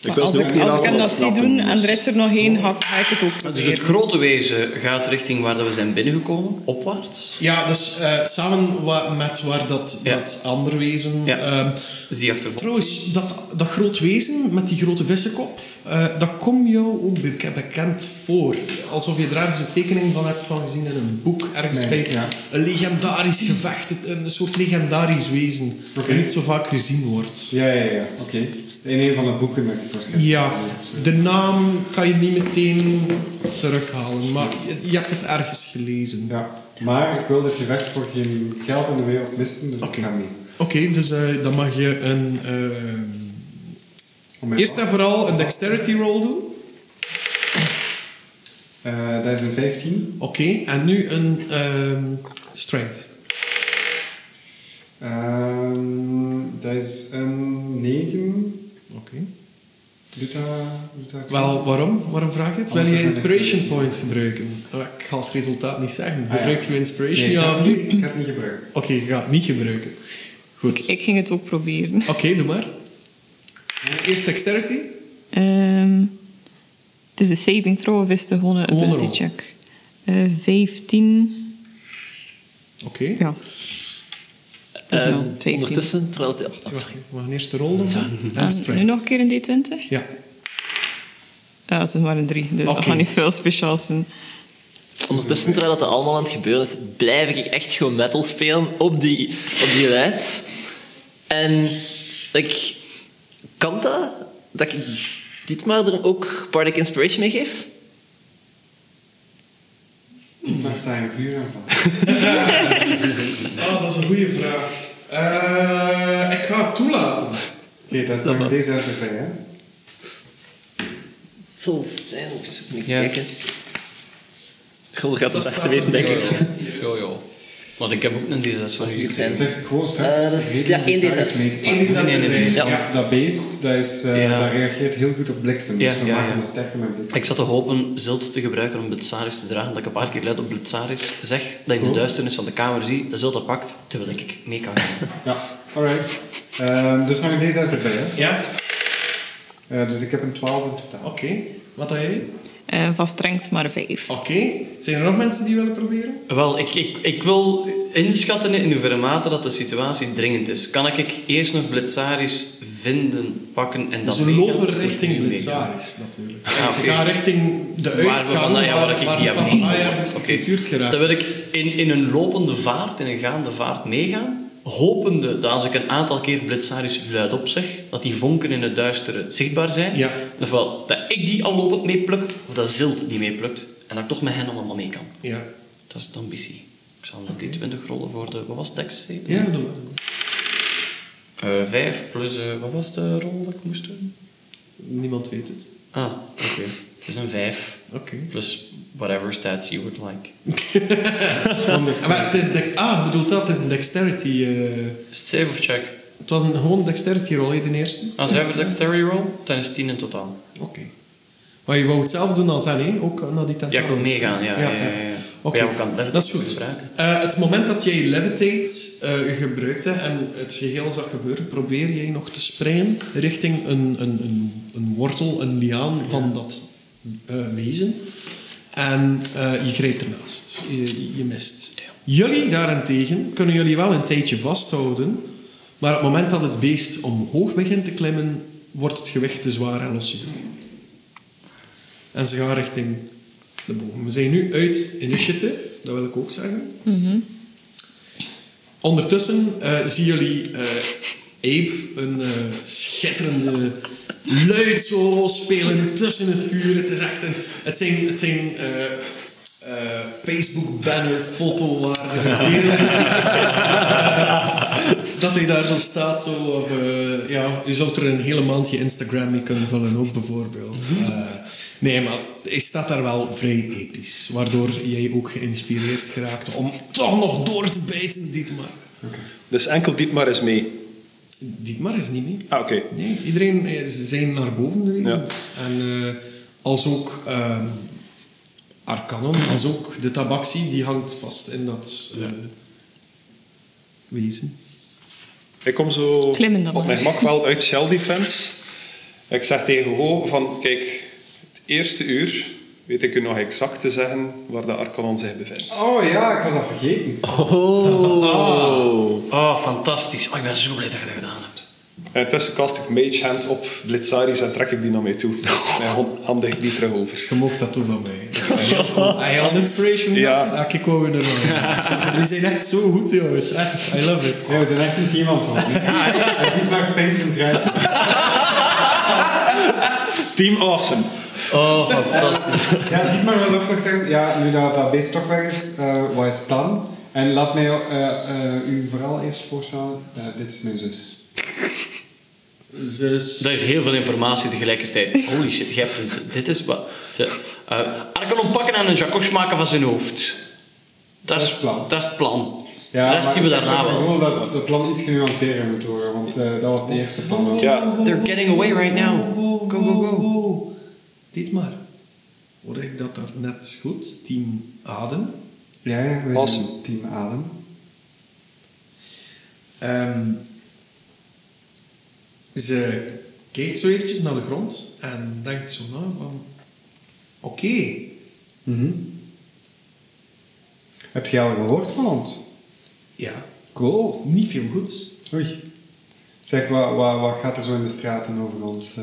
Speaker 5: Ik
Speaker 3: Maar als ik, als ik hem dat zie doen en er is er nog één, ga ik, ga ik het ook
Speaker 6: Dus het
Speaker 3: proberen.
Speaker 6: grote wezen gaat richting waar dat we zijn binnengekomen. Opwaarts.
Speaker 1: Ja, dus eh, samen wa- met waar dat,
Speaker 6: Ja.
Speaker 1: dat andere wezen.
Speaker 6: Ja.
Speaker 1: ehm,
Speaker 6: Dus die achtervolgt.
Speaker 1: Trouwens, dat, dat groot wezen met die grote vissenkop, eh, dat komt jou ook beke- bekend voor. Alsof je er ergens een tekening van hebt van gezien in een boek. Ergens
Speaker 4: Nee,
Speaker 1: bij
Speaker 4: ja.
Speaker 1: een legendarisch gevecht, een- een soort legendarisch wezen.
Speaker 4: Oké.
Speaker 1: Dat niet zo vaak gezien wordt.
Speaker 4: Ja, ja, ja, oké. In een van de boeken dat ik waarschijnlijk.
Speaker 1: Ja, de naam kan je niet meteen terughalen, maar je, je hebt het ergens gelezen.
Speaker 4: Ja, maar ik wil dit gevecht voor geen geld in de wereld missen, dus
Speaker 1: Oké.
Speaker 4: ik ga mee.
Speaker 1: Oké, dus eh, dan mag je een... eh,
Speaker 4: Om mij
Speaker 1: eerst
Speaker 4: vast-
Speaker 1: en vooral een dexterity roll doen.
Speaker 4: Eh, dat is een 15.
Speaker 1: Oké, en nu een ehm, strength.
Speaker 4: Ehm, dat is een 9.
Speaker 1: Oké.
Speaker 4: Doet dat... Doet dat
Speaker 1: Wel, waarom? Waarom vraag je het? Wil
Speaker 4: Anders
Speaker 1: je
Speaker 4: is het
Speaker 1: inspiration
Speaker 4: niet.
Speaker 1: points gebruiken? Oh, ik ga het resultaat niet zeggen.
Speaker 4: Ah, ja.
Speaker 1: Gebruikt je inspiration?
Speaker 4: Nee,
Speaker 1: ja
Speaker 4: ik ga
Speaker 1: of
Speaker 4: het
Speaker 1: niet?
Speaker 4: niet- ik ga het niet gebruiken.
Speaker 1: Oké, je gaat het niet gebruiken. Goed.
Speaker 3: Ik ging het ook proberen.
Speaker 1: Oké, doe maar. Dus eerst dexterity.
Speaker 3: Ehm, het is een saving throw of is het gewoon een
Speaker 1: Gewoon een
Speaker 3: ability
Speaker 1: roll.
Speaker 3: check? Eh 15.
Speaker 1: Oké.
Speaker 3: Ja.
Speaker 2: Eh,
Speaker 3: Nou, 15.
Speaker 2: ondertussen, terwijl het... oh,
Speaker 1: Wacht,
Speaker 2: sorry.
Speaker 1: we gaan eerst de rol doen. En
Speaker 3: En
Speaker 1: strength.
Speaker 3: nu nog een keer een D20?
Speaker 1: Ja.
Speaker 3: Ja, het is maar een 3, dus
Speaker 1: Oké.
Speaker 3: dat gaat niet veel speciaals zijn.
Speaker 2: Ondertussen, terwijl dat allemaal aan het gebeuren is, blijf ik echt gewoon metal spelen op die, op die lijst. En ik kan dat, dat ik dit maar er ook Bardic Inspiration mee geef.
Speaker 4: Daar sta je een vuur aan van.
Speaker 1: Ah, dat is een goede vraag. Eh, ik ga het toelaten.
Speaker 4: Oké, dat is nog een D6 erbij, hè?
Speaker 2: Het zal zijn, op zoek moet ik
Speaker 6: Ja.
Speaker 2: kijken. Gulder gaat het
Speaker 1: Dat
Speaker 2: beste
Speaker 1: staat
Speaker 2: weten,
Speaker 1: er
Speaker 2: denk
Speaker 1: niet
Speaker 2: ik.
Speaker 1: op.
Speaker 6: Jo, jo. Want ik heb ook een D6 van u.
Speaker 2: Goed zijn.
Speaker 4: Zeg, gewoon straks.
Speaker 2: Eh, dat is, ja, 1 D6.
Speaker 1: Eén die zat
Speaker 6: Nee, nee, nee,
Speaker 1: erbij.
Speaker 6: nee.
Speaker 2: Ja.
Speaker 4: Ja, dat beest, dat, is, eh,
Speaker 6: Ja.
Speaker 4: dat reageert heel goed op bliksem.
Speaker 6: Ja,
Speaker 4: dus we
Speaker 6: ja,
Speaker 4: maken
Speaker 6: ja.
Speaker 4: dat sterker met bliksem.
Speaker 6: Ik zat te hopen zilt te gebruiken om Blitzaris te dragen. Dat ik een paar keer luid op Blitzaris zeg dat je
Speaker 2: Oh.
Speaker 6: in de duisternis van de kamer ziet dat zilt dat pakt, terwijl ik mee kan gaan.
Speaker 4: Ja, alright. Ehm, dus nog een D6 erbij, hè?
Speaker 1: Ja?
Speaker 4: Eh, dus ik heb een 12 in totaal.
Speaker 1: Oké. Wat had jij?
Speaker 3: Eh van strength maar 5.
Speaker 1: Oké. Zijn er nog mensen die willen proberen?
Speaker 6: Wel, ik, ik, ik wil inschatten in hoeverre mate dat de situatie dringend is. Kan ik eerst nog Blitzaris vinden, pakken en dan
Speaker 2: Dus
Speaker 1: Dus Ze
Speaker 6: meegaan?
Speaker 1: lopen
Speaker 6: Of
Speaker 1: richting
Speaker 6: niet
Speaker 1: Blitzaris natuurlijk.
Speaker 6: Ah,
Speaker 1: En ze
Speaker 6: oké.
Speaker 1: gaan richting de
Speaker 6: meegaan? Waar
Speaker 1: uitgang
Speaker 6: we vandaan, ja, waar ik
Speaker 1: waar
Speaker 6: die
Speaker 1: de
Speaker 6: heb heen
Speaker 1: papaya is
Speaker 6: gelopen. Oké.
Speaker 1: gefrituurd geraakt.
Speaker 6: Dan wil ik in, in een lopende vaart, in een gaande vaart meegaan. hopende dat als ik een aantal keer Blitzaris luid op zeg, dat die vonken in het duistere zichtbaar zijn.
Speaker 1: Ja.
Speaker 6: Ofwel dat ik die al lopend meepluk, of dat Zilt die meeplukt. En dat ik toch met hen allemaal mee kan.
Speaker 1: Ja.
Speaker 6: Dat is de ambitie. Ik zal nog die 20 rollen voor de... Wat was het, dex save?
Speaker 1: Ja, doe maar.
Speaker 6: Eh, vijf plus... eh, wat was de rol dat ik moest doen?
Speaker 1: Niemand weet het.
Speaker 6: Ah, oké. Het is een vijf.
Speaker 1: Oké.
Speaker 6: Plus whatever stats you would like.
Speaker 1: Ah, Maar het is dex ah, bedoel dat? Het is een dexterity... eh,
Speaker 6: Save of check.
Speaker 1: het was een gewoon dexterity roll, hè, de eerste.
Speaker 6: Als we Nou, hebben dexterity roll, dan is het 10 in totaal.
Speaker 1: Oké. Maar je wou hetzelfde doen als hen, hè? Ook naar die
Speaker 6: Ja, ik wil
Speaker 1: tentakel.
Speaker 6: meegaan, ja. ja, ja, ja, ja.
Speaker 1: Oké.
Speaker 6: Ja, we kan levitate
Speaker 1: Dat is goed.
Speaker 6: gebruiken.
Speaker 1: Eh, het moment dat jij levitate eh, gebruikte en het geheel zag gebeuren, probeer jij nog te springen richting een, een, een, een wortel, een liaan van dat eh, wezen. En eh, je grijpt ernaast. Je, je mist. Jullie daarentegen kunnen jullie wel een tijdje vasthouden, maar op het moment dat het beest omhoog begint te klimmen, wordt het gewicht te zwaar en lossen jullie. En ze gaan richting de boom. We zijn nu uit initiative, dat wil ik ook zeggen. Ondertussen eh, zien jullie eh Abe een eh, schitterende luid solo spelen tussen het vuur. Het, is echt een, het zijn, het zijn eh, eh, Facebook banner fotowaardige beelden. Eh, dat hij daar zo staat. Zo, of, eh, ja, je zou er een hele maand je Instagram mee kunnen vullen ook bijvoorbeeld. Eh, nee, maar hij staat daar wel vrij episch. Waardoor jij ook geïnspireerd geraakt om toch nog door te bijten, Dietmar.
Speaker 5: Dus enkel Dietmar is mee.
Speaker 1: Dietmar is niet mee.
Speaker 5: Ah, oké.
Speaker 1: Nee, iedereen is, zijn naar boven de wezens. En eh, als ook ehm Arcanum, als ook de tabaxi, die hangt vast in dat eh, wezen.
Speaker 5: Ik kom zo
Speaker 3: Klimmen dan
Speaker 5: op
Speaker 3: maar.
Speaker 5: mijn mak wel uit Shell Defense. Ik zeg tegen Ho van, kijk, het eerste uur weet ik u nog exact te zeggen waar de Arcanon zich bevindt.
Speaker 4: Oh ja, ik was dat vergeten.
Speaker 6: Oh, fantastisch. Oh, ik ben zo blij dat je dat gedaan hebt.
Speaker 5: En intussen Eh, kast ik Mage Hand op Blitzaris en trek ik die naar mij toe. En hand- handig ik die terug over.
Speaker 1: Je mag dat doen van mij. Dat is heel cool. Hij had inspiration.
Speaker 5: Ja.
Speaker 1: Ja. ik wou weer naar Die zijn echt zo goed, jongens. Echt, I love it.
Speaker 4: Ja, we zijn echt een team aan het worden. Het is niet maar gepenkt en schrijven.
Speaker 5: Team Awesome.
Speaker 6: Oh, fantastisch.
Speaker 4: Ja, niet maar wel ook nog zeggen. Ja, nu dat dat beest toch weg is, eh, wat is het plan? En laat mij eh, eh, u vooral eerst voorstellen, eh, dit is mijn zus.
Speaker 1: Zus.
Speaker 6: dat is heel veel informatie tegelijkertijd. Holy shit, je hebt een- dit is wat... ze- eh, Arcanon pakken en een jacobs maken van zijn hoofd. Dat is
Speaker 4: Dat is het plan.
Speaker 6: Dat is het plan.
Speaker 4: Ja,
Speaker 6: de rest
Speaker 4: maar
Speaker 6: zien we
Speaker 4: ik heb
Speaker 6: daarna
Speaker 4: het
Speaker 6: wel.
Speaker 4: gevoel dat het plan iets genuanceerder moet worden, want eh, dat was het eerste plan. ook.
Speaker 5: Ja,
Speaker 6: They're getting away right now.
Speaker 1: Wow,
Speaker 6: Go, go, go.
Speaker 1: wow, wow. Dietmar, hoorde ik dat daar net goed? Team Adem.
Speaker 4: Ja, ja, we
Speaker 5: Awesome.
Speaker 4: zijn team Adem.
Speaker 1: Ehm, ze kijkt zo eventjes naar de grond en denkt zo na van... Oké,
Speaker 4: Mhm. Heb je al gehoord van ons?
Speaker 1: ja,
Speaker 4: Cool.
Speaker 1: niet veel goeds.
Speaker 4: Oei. Zeg, wat, wat, wat gaat er zo in de straten over ons? eh?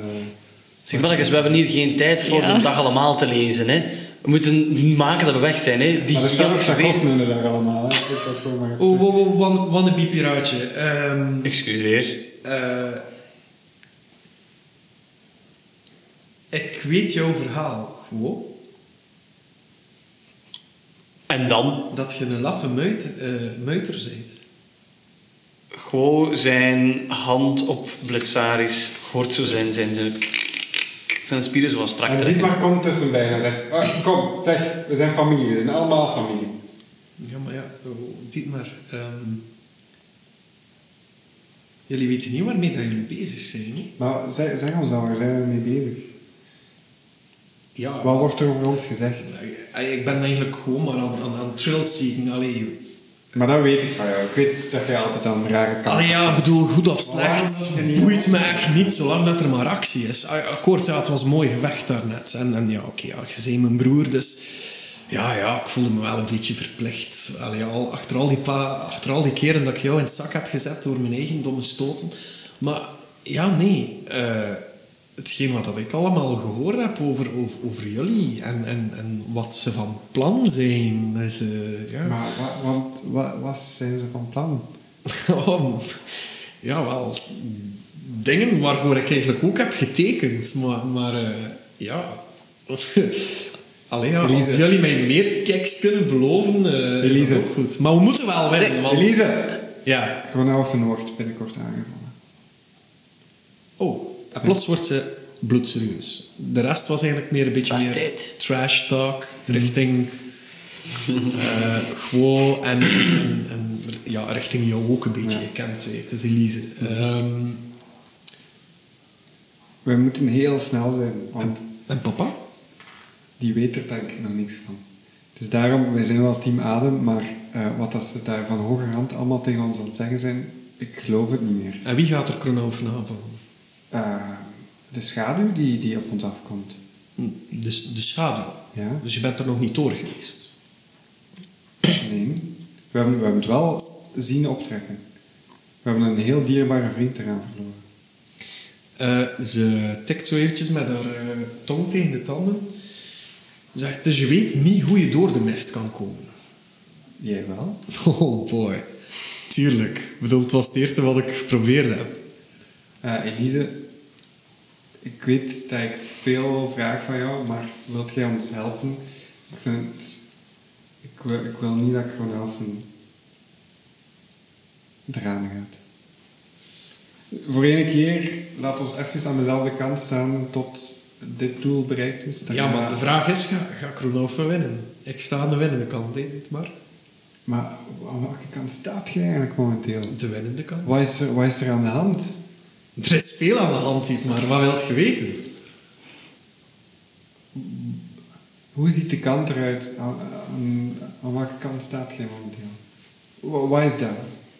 Speaker 6: Zeg mannetjes, we hebben hier geen tijd voor
Speaker 3: Ja.
Speaker 6: de dag allemaal te lezen. Hè. We moeten maken dat we weg zijn. Hè. Die
Speaker 4: maar er staan ook
Speaker 6: gigantische
Speaker 4: sarcasmen
Speaker 6: wezen...
Speaker 4: in de dag allemaal. Hè? Ik heb dat gewoon maar gezegd.
Speaker 1: Oh, wow, wow, wan- wannabe piraatje. Ehm,
Speaker 6: Excuseer.
Speaker 1: eh, ik weet jouw verhaal, gewoon.
Speaker 6: En dan?
Speaker 1: Dat je een laffe muit, eh, muiter bent.
Speaker 6: Gewoon zijn hand op Blitzaris. Hoort zo zijn, zijn, zijn, zijn spieren zo wat strak
Speaker 4: en
Speaker 6: trekken.
Speaker 4: Dietmar komt tussenbij en zegt, "Ah, kom, zeg, we zijn familie, we zijn allemaal familie.
Speaker 1: Ja, maar ja, oh, Dietmar. ehm jullie weten niet waarmee dat jullie bezig zijn. hè?
Speaker 4: Maar zeg, zeg ons dan, waar zijn we mee bezig?
Speaker 1: Ja,
Speaker 4: Wat wordt er over ons gezegd?
Speaker 1: Eh, Ik ben eigenlijk gewoon maar aan, aan, aan trails seeking. Allee,
Speaker 4: Maar dat weet ik van jou. Ik weet dat jij altijd aan de rare kant
Speaker 1: allee ja, ik bedoel, goed of slecht,
Speaker 4: Waarom dat je niet-
Speaker 1: boeit me echt niet, zolang dat er maar actie is. Ah, Akkoord, ja, het was een mooi gevecht daarnet. En, en ja, oké, ja, je bent mijn broer, dus... Ja, ja, ik voelde me wel een beetje verplicht. Allee, al, achter, al die pa, achter al die keren dat ik jou in het zak heb gezet door mijn eigen domme stoten. Maar ja, nee... eh, hetgeen wat dat ik allemaal gehoord heb over, over, over jullie en, en, en wat ze van plan zijn. Dus, eh, ja.
Speaker 4: Maar wa, want, wa- wat zijn ze van plan?
Speaker 1: Oh, ja, wel. Dingen waarvoor ik eigenlijk ook heb getekend. Maar, maar eh, ja... Allee, ja, als
Speaker 4: Elise.
Speaker 1: jullie mij meer keks kunnen beloven, eh is
Speaker 4: Elise.
Speaker 1: dat ook goed. Maar we moeten wel winnen,
Speaker 2: Zeg,
Speaker 1: want...
Speaker 4: Elise!
Speaker 1: Ja.
Speaker 4: Gewoon elfen wordt binnenkort aangevallen.
Speaker 1: Oh, en plots wordt ze bloedserieus. De rest was eigenlijk meer een beetje
Speaker 2: Trash
Speaker 1: meer
Speaker 2: tijd.
Speaker 1: trash talk
Speaker 4: Mhm.
Speaker 1: richting eh gewoon en, en, en ja, richting jou ook een beetje. Je kent ze, het is Elise. Ehm,
Speaker 4: We moeten heel snel zijn, want
Speaker 1: en papa?
Speaker 4: die weet er denk ik nog niks van. Dus daarom, wij zijn wel team Adem, maar eh, wat dat ze daar van hogerhand allemaal tegen ons aan het zeggen zijn, ik geloof het niet meer.
Speaker 1: En wie gaat er Kronoven aanvallen?
Speaker 4: Eh, de schaduw die, die op ons afkomt.
Speaker 1: De, de schaduw.
Speaker 4: Ja.
Speaker 1: Dus je bent er nog niet door geweest.
Speaker 4: Nee. We hebben, we hebben het wel zien optrekken. We hebben een heel dierbare vriend eraan verloren.
Speaker 1: Eh, ze tikt zo eventjes met haar eh, tong tegen de tanden. Zegt, dus je weet niet hoe je door de mist kan komen.
Speaker 4: Jij wel?
Speaker 1: Oh boy. Tuurlijk. Ik bedoel, het was het eerste wat ik geprobeerd heb.
Speaker 4: Eh, Elise, ik weet dat ik veel vraag van jou, maar wilt jij ons helpen? Ik vind... Ik wil, ik wil niet dat ik gewoon helpen eraan gaat. Voor één keer, laat ons even aan dezelfde kant staan tot dit doel bereikt is. Dan
Speaker 1: Ja,
Speaker 4: gaan
Speaker 1: maar
Speaker 4: we-
Speaker 1: de vraag is, ga, ga Kronoven winnen? Ik sta aan de winnende kant, hè, niet maar.
Speaker 4: Maar aan welke kant staat jij eigenlijk momenteel?
Speaker 1: De winnende kant.
Speaker 4: Wat is, er, wat is er aan de hand?
Speaker 1: Er is veel aan de hand, niet maar. Wat wilt je weten?
Speaker 4: Hoe ziet de kant eruit? Aan, aan, aan welke kant staat jij momenteel? Wa- Wat is dat?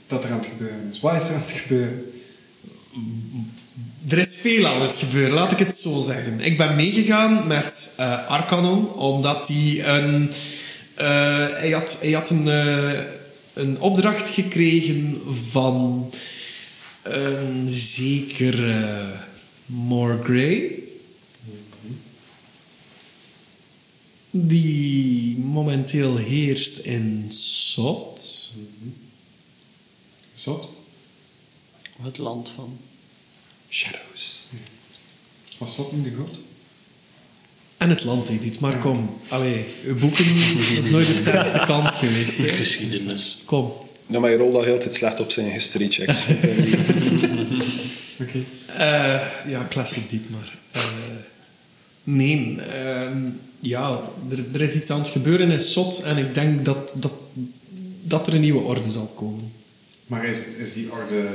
Speaker 4: Dat er aan het gebeuren is. Wat is er aan het gebeuren?
Speaker 1: Er is veel aan het gebeuren, laat ik het zo zeggen. Ik ben meegegaan met eh, Arcanon, omdat hij een... eh, hij had, hij had een, eh, een opdracht gekregen van een zekere Morgrey. Die momenteel heerst in Sot.
Speaker 4: Zot?
Speaker 2: Het land van.
Speaker 5: Shadows.
Speaker 4: Was zot niet de god?
Speaker 1: En het land deed dit, maar kom. Allee, uw boeken is nooit de sterkste kant geweest. hè.
Speaker 6: Geschiedenis.
Speaker 1: Kom.
Speaker 5: Nou, maar je rolt al heel de tijd slecht op zijn history checks.
Speaker 4: Oké.
Speaker 1: Eh, ja, classic dit maar. Eh, nee, ehm, ja, er, er is iets aan het gebeuren in Sot en ik denk dat, dat, dat er een nieuwe orde zal komen.
Speaker 4: Maar is, is die orde...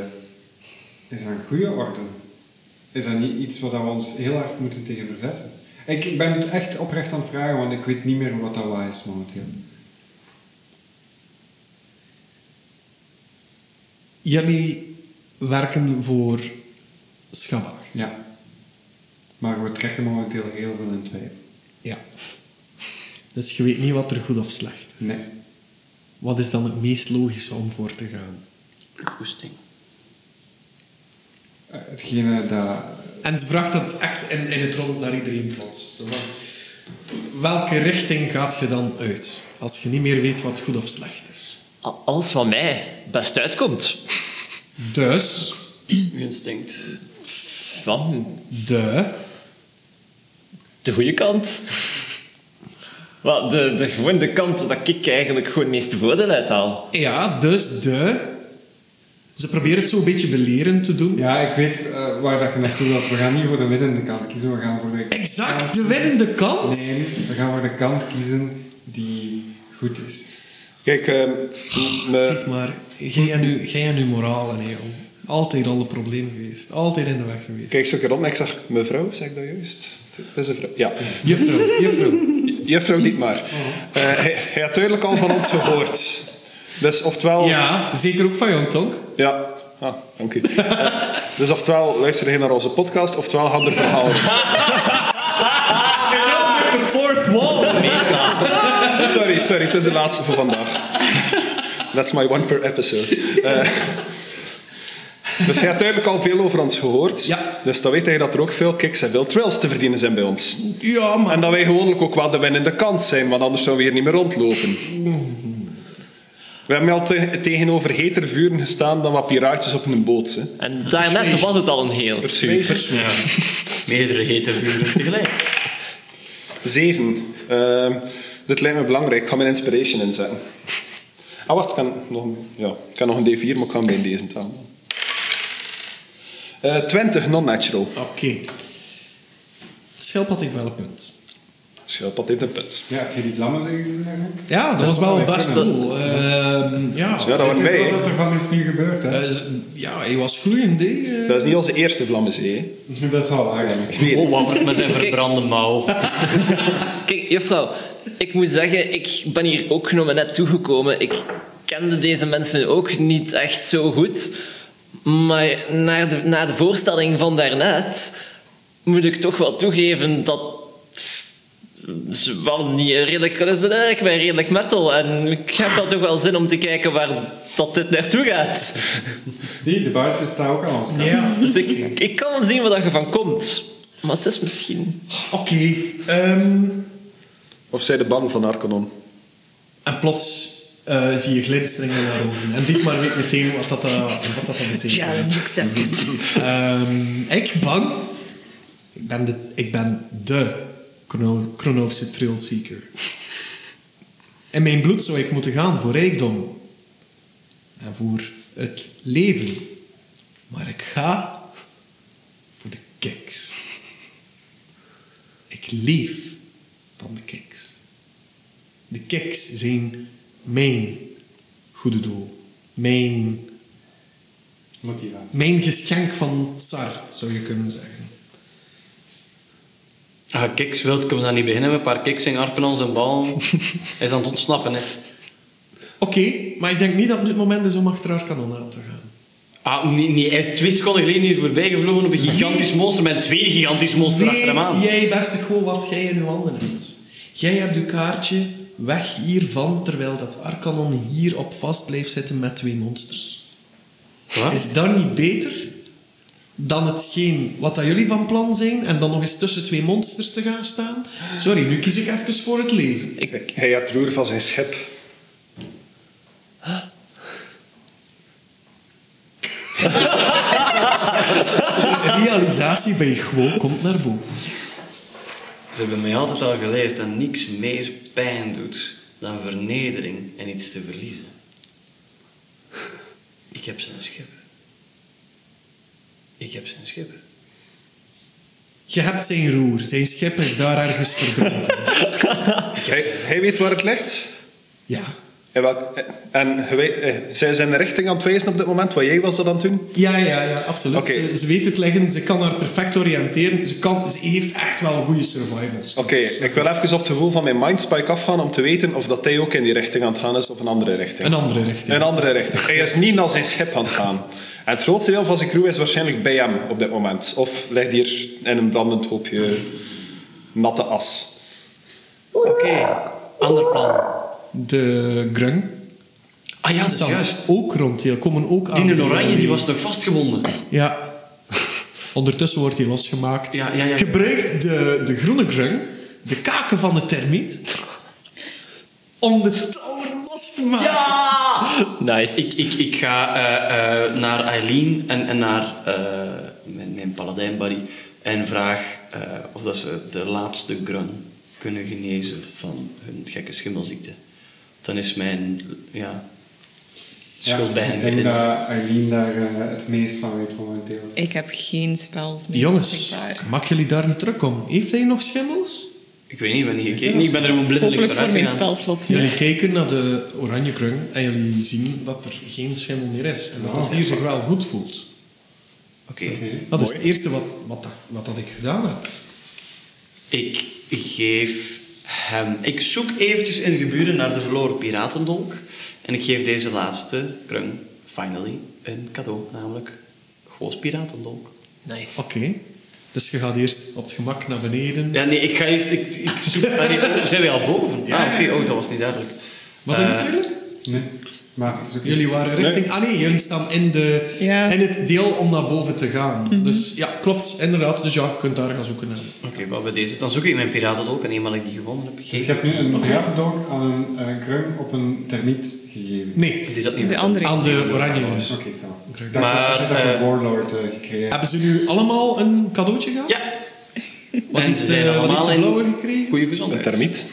Speaker 4: Is dat een goede orde? Is dat niet iets waar we ons heel hard moeten tegen verzetten? Ik, ik ben het echt oprecht aan het vragen, want ik weet niet meer wat dat waar is momenteel.
Speaker 1: Jullie werken voor Schabach.
Speaker 4: Ja. Maar we trekken momenteel heel veel in twijfel.
Speaker 1: Ja. Dus je weet niet wat er goed of slecht is.
Speaker 4: Nee.
Speaker 1: Wat is dan het meest logische om voor te gaan?
Speaker 6: Goesting.
Speaker 4: Eh, Hetgene dat...
Speaker 1: En ze bracht dat echt in, in het rond naar iedereen plots. Zo van, welke richting gaat je dan uit? Als je niet meer weet wat goed of slecht is.
Speaker 2: Al- Alles wat mij best uitkomt.
Speaker 1: Dus,
Speaker 6: Uw instinct.
Speaker 2: Van
Speaker 1: de...
Speaker 2: de goede kant. Wel, de, de, gewoon de kant waar ik eigenlijk gewoon het meeste voordeel uit haal.
Speaker 1: Ja, dus de... Ze probeert het zo een beetje belerend te doen.
Speaker 4: Ja, ik weet eh, waar dat je naartoe wilt. We gaan niet voor de winnende kant kiezen, we gaan voor de...
Speaker 1: Exact, de winnende kant.
Speaker 4: Nee, we gaan voor de kant kiezen die goed is.
Speaker 5: Kijk, ehm, me-
Speaker 1: Zeg maar, jij en, uw, jij en uw moraal, nee, jong. Altijd al een probleem geweest. Altijd in de weg geweest.
Speaker 5: kijk zo een keer om en ik zeg, mevrouw, zeg ik dat juist? Het is een vrouw. Ja,
Speaker 1: Mhm. Juffrouw, juffrouw.
Speaker 5: juffrouw Dietmar. Eh, hij, hij had duidelijk al van ons gehoord. Dus oftewel...
Speaker 1: Ja, zeker ook van jou, Tonk.
Speaker 5: Ja. Ah, dank u. Eh, dus oftewel luister je naar onze podcast, oftewel had er verhaal.
Speaker 1: En dan met de fourth wall.
Speaker 5: Sorry, sorry, het is de laatste voor vandaag. That's my one per episode. Eh, dus hij had duidelijk al veel over ons gehoord.
Speaker 1: Ja.
Speaker 5: Dus dan weet hij dat er ook veel kicks en veel trails te verdienen zijn bij ons.
Speaker 1: Ja, maar...
Speaker 5: En dat wij gewoonlijk ook wel de winnende kant zijn, want anders zouden we hier niet meer rondlopen. We hebben al te- tegenover heter vuren gestaan dan wat piraatjes op een boot. Hè.
Speaker 2: En daarnet was het al een heel.
Speaker 5: Precies.
Speaker 6: Ja. Meerdere hete vuren tegelijk.
Speaker 5: Zeven. Ehm, dit lijkt me belangrijk. Ik ga mijn inspiration inzetten. Ah, wacht. Ik kan nog, een- ja, ik kan nog een D4, maar ik kan bij deze taal. Eh 20, non-natural.
Speaker 1: Oké. Schildpad heeft wel een punt.
Speaker 5: Schildpad heeft een put.
Speaker 4: Ja, heb je die lammen zeggen eigenlijk?
Speaker 1: Ja, dat, was wel best cool. Ehm, ja.
Speaker 5: Ja, dat wordt
Speaker 4: Het
Speaker 5: mee.
Speaker 4: is
Speaker 5: hè.
Speaker 4: wat er van is nu gebeurd, hè?
Speaker 1: Eh, z- ja, hij was gloeiend. hè. Eh,
Speaker 5: Dat is niet onze eerste Vlammenzee. hè.
Speaker 4: Dat is wel waar, eigenlijk.
Speaker 5: Tweede.
Speaker 6: Oh, wat met zijn verbrande mouw.
Speaker 2: Kijk, juffrouw, ik moet zeggen, ik ben hier ook nog maar net toegekomen. Ik kende deze mensen ook niet echt zo goed. Maar na de, na de voorstelling van daarnet moet ik toch wel toegeven dat ze wel niet redelijk, ze zijn eigenlijk wel redelijk metal. En ik heb wel toch wel zin om te kijken waar dat dit naartoe gaat.
Speaker 4: Zie, de buiten staat ook aan ons. kant.
Speaker 1: ja.
Speaker 2: Dus ik, ik kan zien waar dat je van komt. Maar het is misschien...
Speaker 1: Oké. ehm,
Speaker 5: Of zij de bang van Arcanon.
Speaker 1: en plots eh, zie je glinsteringen naar ogen. En Dietmar weet meteen wat dat, eh, wat dat dan betekent. Ehm, ik bang. Ik ben de, ik ben de chrono, chronovische trailseeker. In mijn bloed zou ik moeten gaan voor rijkdom. En voor het leven. Maar ik ga voor de kiks. Ik leef van de kiks. De kiks zijn mijn goede doel. Mijn
Speaker 4: Motivatie.
Speaker 1: mijn geschenk van Tsar, zou je kunnen zeggen.
Speaker 6: Als je kiks wilt, Ah, kunnen we daar niet beginnen met een paar kiks in Arkenons en bal. Hij is aan het ontsnappen, hè.
Speaker 1: Oké, maar ik denk niet dat het nu het moment is om achter haar kanon aan te gaan.
Speaker 6: Ah, nee, nee, hij is twee seconden geleden hier voorbij gevlogen op een gigantisch monster met een tweede gigantisch monster achter hem aan.
Speaker 1: Weet jij beste gewoon wat jij in je handen hebt? Jij hebt je kaartje weg hiervan, terwijl dat Arkanon hierop vast blijft zitten met twee monsters.
Speaker 6: Wat?
Speaker 1: Is dat niet beter dan hetgeen wat dat jullie van plan zijn en dan nog eens tussen twee monsters te gaan staan? Sorry, nu kies ik even voor het leven.
Speaker 5: Hij had roer van zijn schip.
Speaker 1: De realisatie bij Gwo komt naar boven.
Speaker 6: Ze hebben mij altijd al geleerd dat niks meer pijn doet dan vernedering en iets te verliezen. Ik heb zijn schippen. Ik heb zijn schippen.
Speaker 1: Je hebt zijn roer, zijn schip is daar ergens verdronken.
Speaker 5: Hij, hij weet waar het ligt.
Speaker 1: Ja.
Speaker 5: En, wat, en hij weet- eh, zij zijn de richting aan het wijzen op dit moment. Wat jij was dat aan het doen?
Speaker 1: Ja, ja, ja, absoluut.
Speaker 5: Oké.
Speaker 1: Ze, ze weet het leggen, ze kan haar perfect oriënteren. Ze, kan, ze heeft echt wel goede Dus survival skills.
Speaker 5: Oké, ik wil even op het gevoel van mijn mindspike afgaan om te weten of dat hij ook in die richting aan het gaan is of een andere richting.
Speaker 1: Een andere richting.
Speaker 5: Een andere richting. Hij is niet naar zijn schip aan het gaan. En het grootste deel van zijn crew is waarschijnlijk bij hem op dit moment. Of ligt hier in een brandend hoopje natte as.
Speaker 6: Oké, ander plan.
Speaker 1: De grung
Speaker 6: Ah ja, dat is
Speaker 1: staan
Speaker 6: juist.
Speaker 1: ook rond. Die komen ook aan.
Speaker 6: Die in oranje die was nog vastgebonden.
Speaker 1: Ja. Ondertussen wordt hij losgemaakt.
Speaker 6: Ja, ja, ja.
Speaker 1: Gebruikt de, de groene grung, de kaken van de termiet, om de touwen los te maken.
Speaker 2: Nice.
Speaker 6: Ik, ik, ik ga eh, eh, naar Eileen en, en naar eh, mijn, mijn paladijn buddy en vraag eh, of dat ze de laatste grun kunnen genezen van hun gekke schimmelziekte. Dan is mijn ja, schuld bij hen
Speaker 4: Ik denk
Speaker 6: geënt.
Speaker 4: dat Eileen daar eh, het meest van weet momenteel.
Speaker 3: Ik heb geen spels meer.
Speaker 1: Jongens,
Speaker 3: beschikbaar.
Speaker 1: maak jullie daar niet druk om. Heeft hij nog schimmels?
Speaker 6: Ik weet niet, ik ben niet gekeken. Ik ben er gewoon blindelings
Speaker 3: Hopelijk
Speaker 6: van
Speaker 3: voor mijn
Speaker 6: uitgegaan.
Speaker 3: spelslots
Speaker 1: Jullie
Speaker 3: niet.
Speaker 1: kijken naar de oranje krung en jullie zien dat er geen schimmel meer is. En dat het hier zich wel goed voelt.
Speaker 6: Oké.
Speaker 1: Dat is het eerste wat, wat, dat- wat dat ik gedaan heb.
Speaker 6: Ik geef hem... Ik zoek eventjes in de geburen naar de verloren piratendolk. En ik geef deze laatste krung, finally, een cadeau. Namelijk, gewoon piratendolk.
Speaker 2: Nice.
Speaker 1: Oké. Dus je gaat eerst op het gemak naar beneden.
Speaker 6: Ja, nee, ik ga eerst... Ik, ik zoek... ah, nee, oh, zijn we al boven?
Speaker 1: Ja.
Speaker 6: ah, oké. Oh, dat was niet duidelijk.
Speaker 1: Was dat niet
Speaker 6: Eh,
Speaker 1: duidelijk?
Speaker 4: Nee. Maar het is ook
Speaker 1: Jullie waren richting... Ah nee, jullie staan in, de,
Speaker 3: Ja.
Speaker 6: Mhm.
Speaker 1: in het deel om naar boven te gaan. Dus ja, klopt, inderdaad. Dus ja, je kunt daar gaan zoeken. hè.
Speaker 6: Oké, maar bij deze. Dan zoek ik mijn piratendolk en eenmaal dat ik die gevonden heb
Speaker 4: Dus ik
Speaker 6: gegeven.
Speaker 4: heb nu een piratendolk aan een eh, grum op een termiet gegeven.
Speaker 1: Nee,
Speaker 6: Die is dat niet
Speaker 3: De
Speaker 6: meer.
Speaker 3: andere.
Speaker 1: aan de oranje.
Speaker 4: Oké, zo.
Speaker 1: Grum.
Speaker 4: Daar
Speaker 6: Maar,
Speaker 4: heb ik een
Speaker 6: eh,
Speaker 4: warlord eh, gecreëerd.
Speaker 1: Hebben ze nu allemaal een cadeautje gehad?
Speaker 6: Ja.
Speaker 1: Wat
Speaker 6: En ze
Speaker 1: heeft,
Speaker 6: zijn
Speaker 1: eh, wat heeft
Speaker 6: allemaal
Speaker 1: de
Speaker 6: in
Speaker 1: blauwe gekregen?
Speaker 6: goede
Speaker 5: Een
Speaker 6: gezondheid.
Speaker 5: termiet.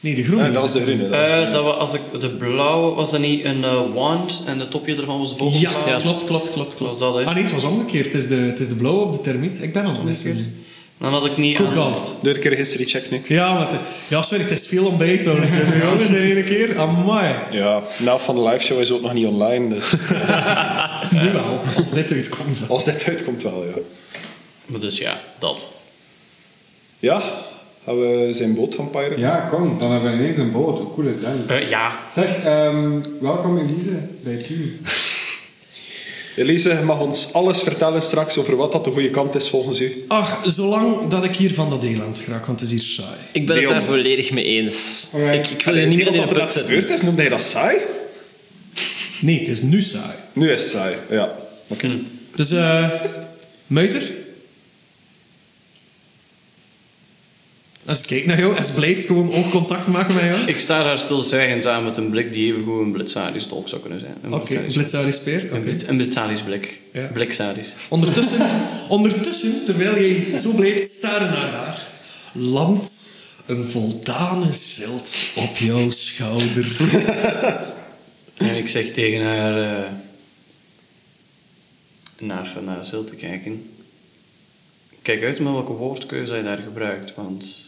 Speaker 1: Nee, de groene.
Speaker 5: Ah, dat was de groene. Dat was de
Speaker 6: Eh,
Speaker 5: groene.
Speaker 6: dat we, als ik, de blauwe was dat niet een eh, wand en het topje ervan was boven.
Speaker 1: Ja, klopt, klopt, klopt. klopt.
Speaker 6: Was dat, hè?
Speaker 1: ah nee, het was omgekeerd. Het is de, het is de blauwe op de termiet. Ik ben aan het missen.
Speaker 6: Dan had ik niet.
Speaker 1: Good
Speaker 6: aan-
Speaker 1: God.
Speaker 5: Deur keer history check, Nick.
Speaker 1: Ja, want, eh, ja, sorry, het is veel om bij te houden. hè, Jongens, in één keer. Amai.
Speaker 5: Ja, de helft van de live show is ook nog niet online, dus
Speaker 1: Nu wel, als dit uitkomt. wel.
Speaker 5: als dit uitkomt wel, ja.
Speaker 6: Maar dus ja, dat.
Speaker 5: Ja, gaan we zijn boot gaan piraten?
Speaker 4: Ah, Ja, kom, dan hebben we ineens een boot. Hoe cool is dat? niet?
Speaker 6: Eh, ja,
Speaker 4: Zeg, ehm, welkom Elise bij het team.
Speaker 5: Elise, je mag ons alles vertellen straks over wat dat de goede kant is volgens u.
Speaker 1: Ach, zolang dat ik hier van dat eiland graag, want het is hier saai.
Speaker 2: Ik ben het
Speaker 5: Leon.
Speaker 2: daar volledig mee eens.
Speaker 4: Alright.
Speaker 2: Ik, ik wil
Speaker 5: Allee,
Speaker 2: hier
Speaker 5: is
Speaker 2: niet
Speaker 5: iemand
Speaker 2: in
Speaker 5: dat
Speaker 2: de
Speaker 5: er
Speaker 2: put
Speaker 5: net
Speaker 2: zetten.
Speaker 5: gebeurd is, noemde hij dat saai?
Speaker 1: Nee, het is nu saai.
Speaker 5: Nu is het saai, ja. Oké.
Speaker 1: Dus, eh... Muiter? Als ik kijk naar jou, als blijft gewoon oogcontact maken met jou.
Speaker 6: ik sta daar stilzwijgend aan met een blik die evengoed een blitzaris dolk zou kunnen zijn. Een
Speaker 1: Oké,
Speaker 6: blitzaris-
Speaker 1: okay, speer.
Speaker 6: Een, blit, een blitzaris blik.
Speaker 1: Ja.
Speaker 6: Bliksaris.
Speaker 1: Ondertussen, ondertussen, terwijl jij zo blijft staren naar haar, landt een voldane zilt op jouw schouder.
Speaker 6: En ik zeg tegen haar... eh, naar, naar Zil te kijken. Kijk uit met welke woordkeuze hij daar gebruikt, want...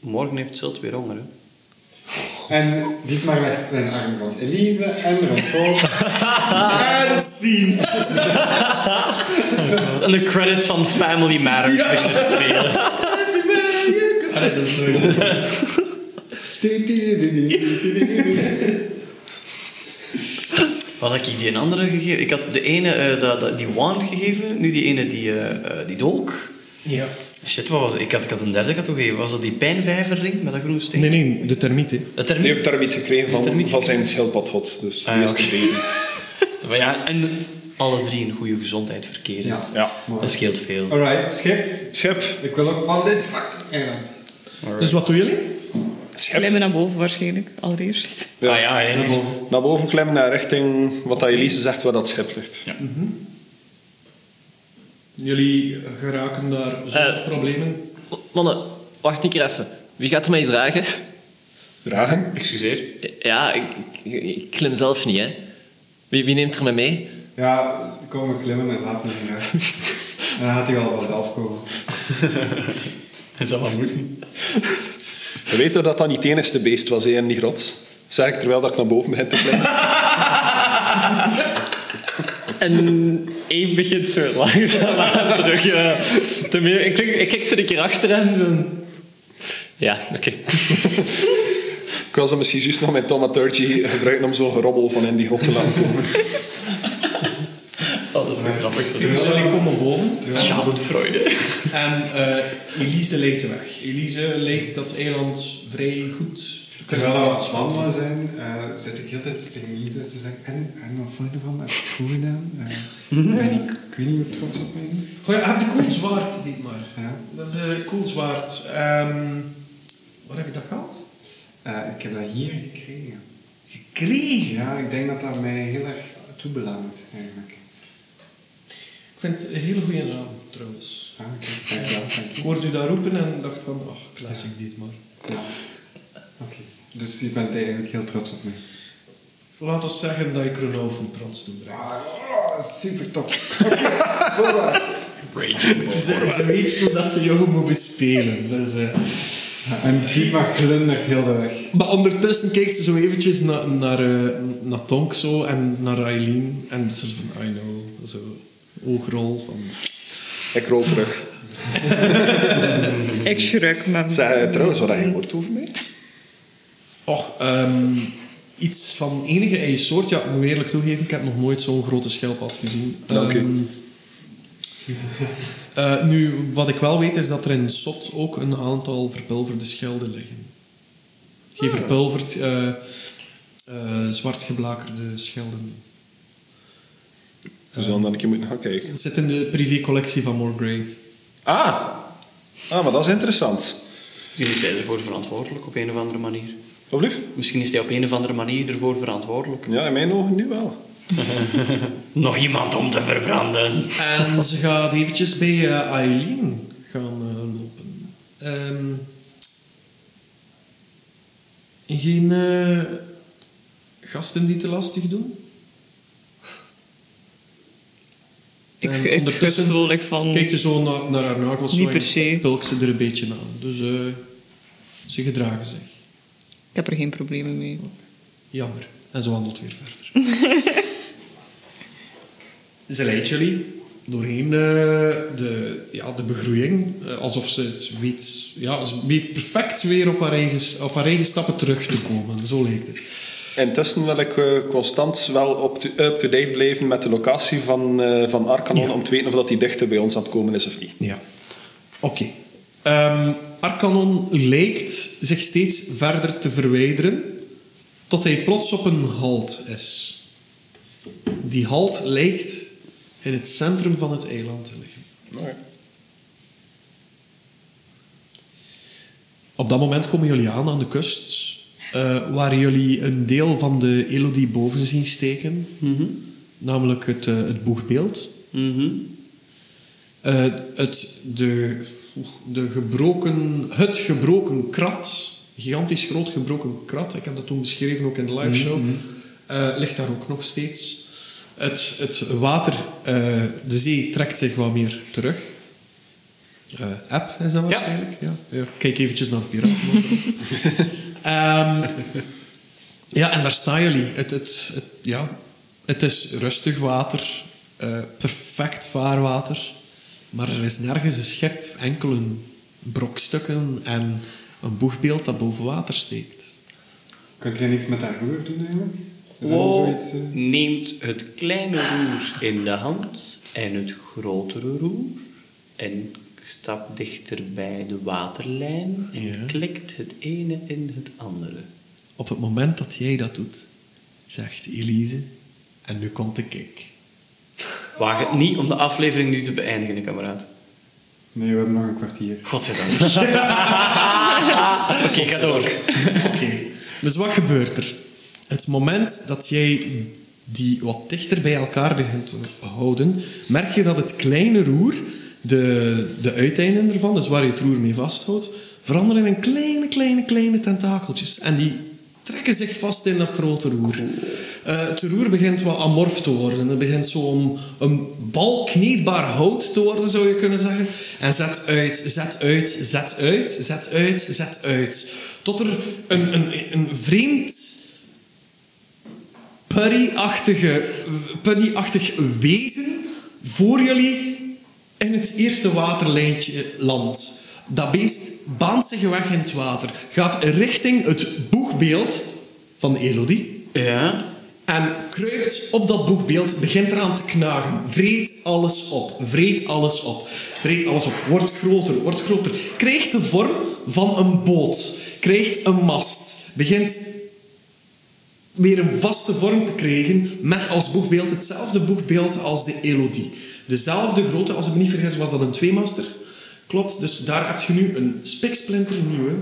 Speaker 6: Morgen heeft Zilt weer honger, hè.
Speaker 4: En Dietmar legt zijn arm rond Elise en rond Paul.
Speaker 1: En zien!
Speaker 6: En de credits van Family Matters beginnen te spelen.
Speaker 1: Allee, dat is nooit.
Speaker 6: Wat had ik die een andere gegeven? Ik had de ene, eh, dat- dat- die wand gegeven. Nu die ene, die, eh, eh, die dolk.
Speaker 1: Ja.
Speaker 6: Shit, wat was het? Ik had, ik had een derde gegeven. Was dat die pijnvijverring met dat groene steen?
Speaker 1: Nee, nee, de termieten.
Speaker 6: Dat
Speaker 5: Nu
Speaker 6: termiet.
Speaker 5: heeft termiet gekregen van,
Speaker 6: Termiet
Speaker 5: van zijn schildpadhot, dus
Speaker 6: Ah,
Speaker 5: nu
Speaker 6: ja,
Speaker 5: is het
Speaker 6: oké.
Speaker 5: tevreden.
Speaker 6: Maar ja, en alle drie een goede gezondheid verkeren.
Speaker 4: Ja.
Speaker 5: Ja.
Speaker 6: Dat scheelt veel.
Speaker 4: Alright, schip.
Speaker 5: Schip,
Speaker 4: Ik wil ook van dit fucking eiland.
Speaker 1: Dus wat doen jullie?
Speaker 5: schip.
Speaker 3: Klimmen naar boven waarschijnlijk, allereerst.
Speaker 5: Ja.
Speaker 6: Ah ja, hè.
Speaker 5: Naar boven klimmen, naar richting wat dat Elise zegt, waar dat schip ligt.
Speaker 1: Jullie geraken daar zonder
Speaker 2: Eh.
Speaker 1: problemen.
Speaker 2: Mannen, wacht een keer even. Wie gaat er mij dragen?
Speaker 5: Dragen?
Speaker 6: Excuseer.
Speaker 2: Ja, ik, ik- ik klim zelf niet, hè. Wie, wie neemt er me mee?
Speaker 4: Ja, komen klimmen en laat me niet uit. Dan had hij al wat afkomen.
Speaker 6: Het zal wel moeten.
Speaker 5: Je weet toch dat dat niet het enigste beest was hè, in die grot? Zeg ik terwijl dat ik naar boven begin te klimmen.
Speaker 2: En hij begint zo langzaam aan terug. eh, te meer. Ik, kijk- ik kijk zo een keer achter hem. Zo. Ja, oké.
Speaker 5: Ik was dan misschien juist nog mijn thaumaturgy gebruiken om zo'n gerobbel van in die grot te laten komen.
Speaker 6: Oh, dat is wel grappig.
Speaker 1: Dus jullie komen boven
Speaker 6: Schadenfreude.
Speaker 1: en eh, Elise lijkt weg. Elise lijkt dat eiland vrij goed te kunnen
Speaker 4: Terwijl we wat
Speaker 1: plaatsen.
Speaker 4: wandelen zijn, eh, zit ik heel de tijd tegen Elise te zeggen. En, en wat vond je ervan? Heb je het goed gedaan?
Speaker 6: Mhm.
Speaker 4: Eh, ben ik, ik weet niet hoe trots op mij is.
Speaker 1: Goh, ja, heb je cool zwaard, Dietmar.
Speaker 4: Ja.
Speaker 1: Dat is een cool zwaard. Ehm, waar heb je dat gehaald?
Speaker 4: Eh, ik heb dat hier gekregen.
Speaker 1: Gekregen.
Speaker 4: Ja, ik denk dat dat mij heel erg toebelangt eigenlijk.
Speaker 1: Ik vind het een hele goede naam, trouwens.
Speaker 4: Ah, oké. Dankjewel, dankjewel.
Speaker 1: Ik hoorde u daar roepen en dacht van, ach, classic Dietmar.
Speaker 4: Ja. Oké. Dus je bent eigenlijk heel trots op me.
Speaker 1: Laat ons zeggen dat je Kronoven trots
Speaker 4: Ah,
Speaker 1: toebrengt.
Speaker 4: super tof.
Speaker 1: Ze, ze weet hoe dat ze jou moet bespelen. Dus, eh.
Speaker 4: En die mag glundert heel de weg.
Speaker 1: Maar ondertussen kijkt ze zo eventjes na, naar, eh, naar Tonk zo en naar Eileen. En ze is van, I know. Zo, oogrol van...
Speaker 5: Ik rol terug.
Speaker 1: Mhm.
Speaker 3: Ik schrik me.
Speaker 5: Zeg eh, trouwens wat je hoort over mij.
Speaker 1: Och, ehm, iets van enige eigen soort. Ja, ik moet eerlijk toegeven, ik heb nog nooit zo'n grote schelpad gezien.
Speaker 5: Dank u.
Speaker 1: Ehm, eh, nu, wat ik wel weet is dat er in Sot ook een aantal verpulverde schelden liggen. Geen verpulverd, eh eh, zwart geblakerde schelden.
Speaker 5: We zullen dan een keer moeten gaan kijken.
Speaker 1: Het zit in de privécollectie van More Grey.
Speaker 5: Ah. Ah, maar dat is interessant.
Speaker 6: Jullie zijn ervoor verantwoordelijk op een of andere manier.
Speaker 5: Wat lief?
Speaker 6: Misschien is hij op een of andere manier ervoor verantwoordelijk.
Speaker 5: Ja, in mijn ogen nu wel.
Speaker 6: Nog iemand om te verbranden.
Speaker 1: En ze gaat eventjes bij eh, Eileen gaan eh, lopen. Ehm, geen eh, gasten die te lastig doen?
Speaker 3: Ik,
Speaker 1: En
Speaker 3: ik schud
Speaker 1: Eh, ondertussen-
Speaker 3: zo like van...
Speaker 1: Kijkt ze zo naar, naar haar nagels
Speaker 3: Niet
Speaker 1: zo
Speaker 3: per
Speaker 1: en
Speaker 3: se.
Speaker 1: pulkt ze er een beetje aan. Dus eh, ze gedragen zich.
Speaker 3: Ik heb er geen problemen mee.
Speaker 1: Jammer. En ze wandelt weer verder. ze leidt jullie doorheen eh, de, ja, de begroeiing. eh, alsof ze het weet... Ja, ze weet perfect weer op haar, eigen, op haar eigen stappen terug te komen. Zo lijkt het.
Speaker 5: Intussen wil ik eh, constant wel op to- up-to-date blijven met de locatie van, eh, van Arcanon
Speaker 1: Ja.
Speaker 5: om te weten of dat die dichter bij ons aan het komen is of niet.
Speaker 1: Ja. Oké. Ehm, Arcanon lijkt zich steeds verder te verwijderen tot hij plots op een halt is. Die halt lijkt in het centrum van het eiland te liggen. Op dat moment komen jullie aan aan de kust, eh, waar jullie een deel van de Elodie boven zien steken, namelijk het, eh, het boegbeeld. Eh, het, de, de gebroken, het gebroken krat, gigantisch groot gebroken krat, ik heb dat toen beschreven ook in de live show, eh, ligt daar ook nog steeds. Het, het water, eh, de zee trekt zich wat meer terug. Eh, app is dat waarschijnlijk? Ja. Ja. Kijk eventjes naar de piraten. Ehm ja, en daar staan jullie. Het, het, het- ja, het is rustig water, eh, perfect vaarwater, maar er is nergens een schip, enkele brokstukken en een boegbeeld dat boven water steekt.
Speaker 4: Kan jij niks met haar roer doen eigenlijk? Is dat
Speaker 6: Wow.
Speaker 4: niet zoiets, eh?
Speaker 6: neemt het kleine roer in de hand en het grotere roer en stapt dichter bij de waterlijn en
Speaker 1: Ja.
Speaker 6: klikt het ene in het andere.
Speaker 1: Op het moment dat jij dat doet, zegt Elise, en nu komt de kick.
Speaker 6: Waag het niet om de aflevering nu te beëindigen, kameraad.
Speaker 4: Nee, we hebben nog een kwartier.
Speaker 6: Godzijdank. Oké, ga door.
Speaker 1: Oké, dus wat gebeurt er? Het moment dat jij die wat dichter bij elkaar begint te houden, merk je dat het kleine roer, de, de uiteinden ervan, dus waar je het roer mee vasthoudt, veranderen in kleine, kleine, kleine tentakeltjes. En die trekken zich vast in dat grote roer. Eh, het roer begint wat amorf te worden. Het begint zo om een bal kneedbaar hout te worden, zou je kunnen zeggen. En zet uit, zet uit, zet uit, zet uit, zet uit. Tot er een, een, een vreemd putty-achtige, putty-achtig wezen voor jullie in het eerste waterlijntje landt. Dat beest baant zich weg in het water, gaat richting het boegbeeld van Elodie.
Speaker 6: Ja?
Speaker 1: En kruipt op dat boegbeeld, begint eraan te knagen. Vreet alles op, vreet alles op, vreet alles op. Wordt groter, wordt groter. Krijgt de vorm van een boot, krijgt een mast. Begint weer een vaste vorm te krijgen met als boegbeeld hetzelfde boegbeeld als de Elodie. Dezelfde grootte, als ik me niet vergis, was dat een tweemaster. Klopt, dus daar heb je nu een spiksplinternieuwe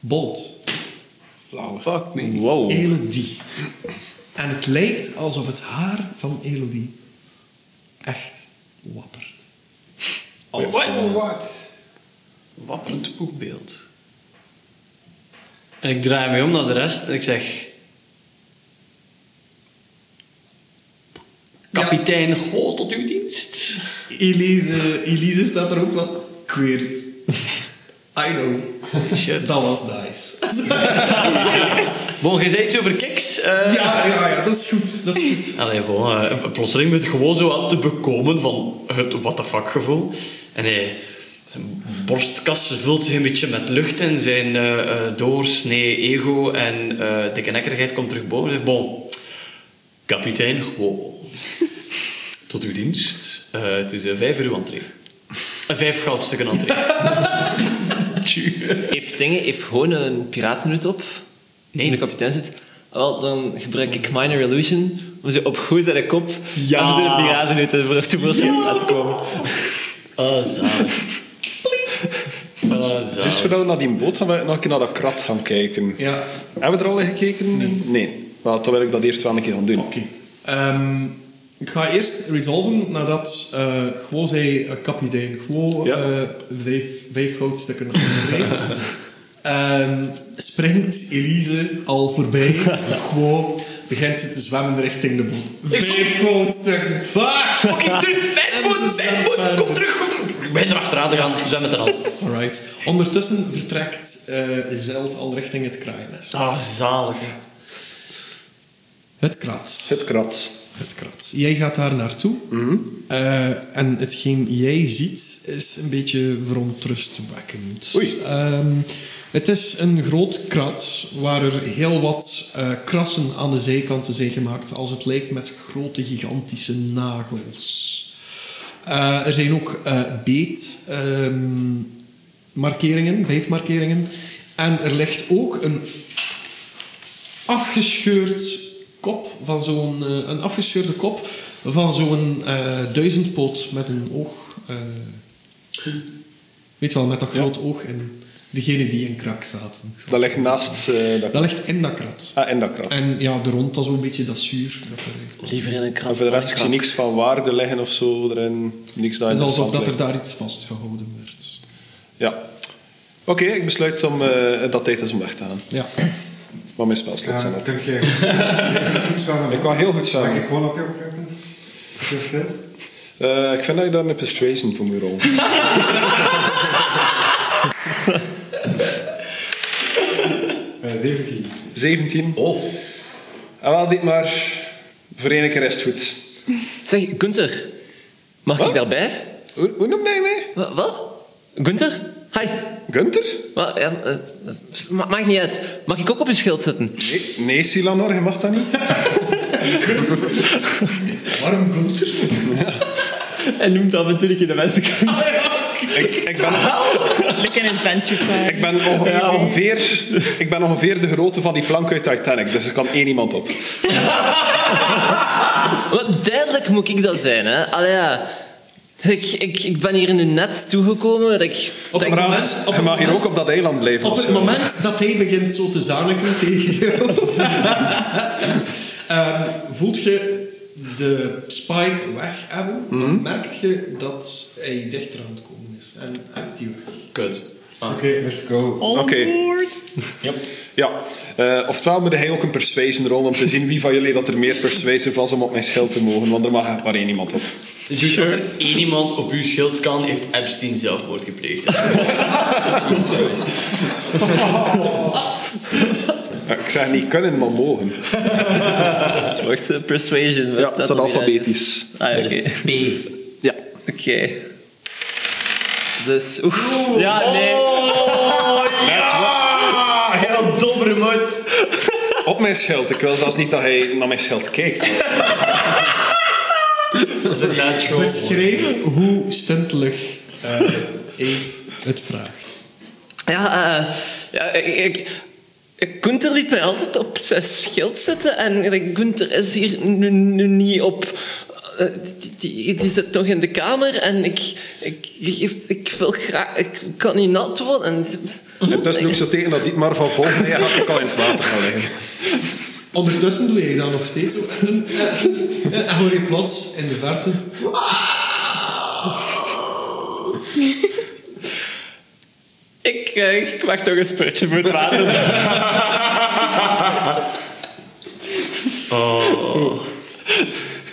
Speaker 1: boot.
Speaker 6: Fuck me.
Speaker 1: Oh.
Speaker 2: Wow.
Speaker 1: Elodie. En het lijkt alsof het haar van Elodie echt wappert.
Speaker 4: Oh, wat?
Speaker 6: Wapperend boekbeeld. En ik draai me om naar de rest en ik zeg... Kapitein Go tot uw dienst.
Speaker 1: Elise, Elise staat er ook wat queer. I know.
Speaker 6: Shit.
Speaker 1: Dat was nice.
Speaker 6: Bon, je zei iets over kiks. eh.
Speaker 1: Ja, ja, ja, dat is goed. Dat is goed.
Speaker 6: Allee, bon, eh, plotseling ben ik gewoon zo aan te bekomen van het what the fuck gevoel. En hij, zijn borstkast vult zich een beetje met lucht en zijn eh, eh, doorsnee ego en eh, dikke nekkerigheid komt terug boven. Zegt, bon, kapitein, gewoon. Tot uw dienst. Eh, het is eh, vijf uur uw entree. Eh, vijf goudstukken entree. Tjoe.
Speaker 2: Heeft dingen, heeft gewoon een piratenhut op.
Speaker 6: Nee.
Speaker 2: In de kapitein zit. ah, Wel, dan gebruik ik Minor Illusion om ze op goed zijn kop
Speaker 6: Ja.
Speaker 2: en ze door de piratenhut te- voor- tevoorschijn te laten komen.
Speaker 6: Oh, zalig. Oh, zalig.
Speaker 5: Juist voordat we naar die boot gaan, wil ik nog een keer naar dat krat gaan kijken.
Speaker 1: Ja.
Speaker 5: Hebben we er al in gekeken? Nee. Wel, dan wil ik dat eerst wel een keer gaan doen.
Speaker 1: Oké. Ehm, ik ga eerst resolven nadat eh gewoon zei eh, kapitein gewoon
Speaker 5: Ja.
Speaker 1: eh, vijf, vijf goudstukken op de trein. Ehm, springt Elise al voorbij. gewoon begint ze te zwemmen richting de boot. Vijf goudstukken. Fuck!
Speaker 6: Fucking dit,
Speaker 1: En ze
Speaker 6: mijn boot, mijn
Speaker 1: zwemt
Speaker 6: boot,
Speaker 1: verder.
Speaker 6: kom terug, kom terug. Ik ben er achteraan te gaan, zwem met een hand.
Speaker 1: Alright. Ondertussen vertrekt eh Zeld al richting het kraaiennest.
Speaker 6: Ah, zalig. hè.
Speaker 1: Het krat.
Speaker 5: Het krat.
Speaker 1: Het krat. Jij gaat daar naartoe. Eh, en hetgeen jij ziet is een beetje verontrustwekkend.
Speaker 5: Oei.
Speaker 1: Ehm, het is een groot krat waar er heel wat eh, krassen aan de zijkanten zijn gemaakt. Als het lijkt met grote, gigantische nagels. Eh, er zijn ook eh beet... ehm, markeringen, beetmarkeringen. En er ligt ook een afgescheurd kop van zo'n eh, een afgescheurde kop van zo'n eh, duizendpoot met een oog. eh, weet je wel, met dat groot oog en degene die in krak zaten. Ik zal
Speaker 5: Dat
Speaker 1: het
Speaker 5: ligt
Speaker 1: zo zeggen.
Speaker 5: naast eh, dat
Speaker 1: Dat ligt in dat krat.
Speaker 5: Ah, en dat krat.
Speaker 1: En ja, de rond dat is een beetje dat zuur dat eh, eruit komt.
Speaker 2: Liever in een krant.
Speaker 5: En voor de rest, ik
Speaker 2: dan
Speaker 5: zie
Speaker 2: een
Speaker 5: niks van waarde liggen of zo erin. Niks dat
Speaker 1: Het is alsof
Speaker 5: interessant
Speaker 1: dat er
Speaker 5: lijkt.
Speaker 1: daar iets vastgehouden werd.
Speaker 5: Ja. Oké, ik besluit om eh, dat tijd is om weg te gaan.
Speaker 1: Ja.
Speaker 5: Maar mijn spelslots zijn
Speaker 4: Ja,
Speaker 5: op.
Speaker 4: kun je goed zwemmen?
Speaker 5: Ik kan heel goed zwemmen.
Speaker 4: Mag ik gewoon op jou kruipen? Zo stil.
Speaker 5: Eh, ik vind dat je daar een persuasion voor moet rollen.
Speaker 4: Eh, 17.
Speaker 5: 17. Oh. En Ah, wel, dit maar. Voor één keer is het goed.
Speaker 2: krant. Zeg, Gunther. Mag
Speaker 5: Wat?
Speaker 2: ik daarbij?
Speaker 5: Hoe, hoe noemde je mij?
Speaker 2: Wa- Wat? Gunther? Hi.
Speaker 5: Gunther?
Speaker 2: Wat? Ja, eh, eh, ma- maakt niet uit. Mag ik ook op je schild zitten?
Speaker 5: Nee, nee Silanor, je mag dat niet.
Speaker 1: Waarom komt er?
Speaker 2: En noemt dat natuurlijk in de mensen.
Speaker 1: Ah,
Speaker 5: ik, ik ben,
Speaker 3: Like an adventure time.
Speaker 5: ik, ben ongeveer,
Speaker 2: Ja.
Speaker 5: ongeveer, ik ben ongeveer de grootte van die plank uit Titanic, dus er kan één iemand op.
Speaker 2: Wat duidelijk moet ik dat zijn, hè? Allee, ja. Ik, ik, ik ben hier in een net toegekomen. Dat ik,
Speaker 1: Op
Speaker 2: dat ik-
Speaker 1: een raam.
Speaker 5: Raad,
Speaker 1: moment- op
Speaker 5: je
Speaker 1: het
Speaker 5: mag hier
Speaker 1: moment-
Speaker 5: ook op dat eiland blijven.
Speaker 1: Op
Speaker 5: als
Speaker 1: het
Speaker 5: je-
Speaker 1: moment dat hij begint zo te zaniken tegen jou, ehm, voelt je de spike weg hebben, dan merkt je dat hij dichter aan het komen is. En hebt die weg.
Speaker 6: Kut. Ah.
Speaker 4: Oké, let's go.
Speaker 3: On
Speaker 5: Oké.
Speaker 3: board.
Speaker 6: Yep.
Speaker 5: Ja, eh, oftewel moet hij ook een persuasion rollen om te zien wie van jullie dat er meer persuasive was om op mijn schild te mogen, want er mag echt maar één iemand op.
Speaker 6: Dus als er één iemand op uw schild kan, heeft Epstein zelfmoord gepleegd.
Speaker 5: Ja, Eh, ik zeg niet kunnen, maar mogen.
Speaker 2: Het wordt eh, persuasion. wat
Speaker 5: Ja, het staat
Speaker 2: er weer
Speaker 5: alfabetisch.
Speaker 2: ergens? Ah, oké.
Speaker 6: B.
Speaker 5: Ja.
Speaker 2: Oké. Dus, oef. Ja, nee.
Speaker 5: Net wa-
Speaker 6: Ah, heel dom remote.
Speaker 5: op mijn schild. Ik wil zelfs niet dat hij naar mijn schild kijkt.
Speaker 6: Dat is inderdaad gewoon.
Speaker 1: Beschrijf hoe stuntelig eh, hij het vraagt.
Speaker 2: Ja, eh, ja ik, ik, ik- Gunther liet mij altijd op zijn schild zitten. En like, Gunther is hier nu, nu niet op. Eh, Die, die, die zit nog in de kamer en ik, ik, ik, ik wil graag... Ik kan niet nat worden. En,
Speaker 5: En tussen ook zo tegen dat Dietmar van volgt. Nee, hij gaat ook al in het water gaan liggen.
Speaker 1: Ondertussen doe jij dat nog steeds zo. En, eh, en hoor je plots in de verte.
Speaker 2: Ik, eh, ik wacht nog een spurtje voor het water.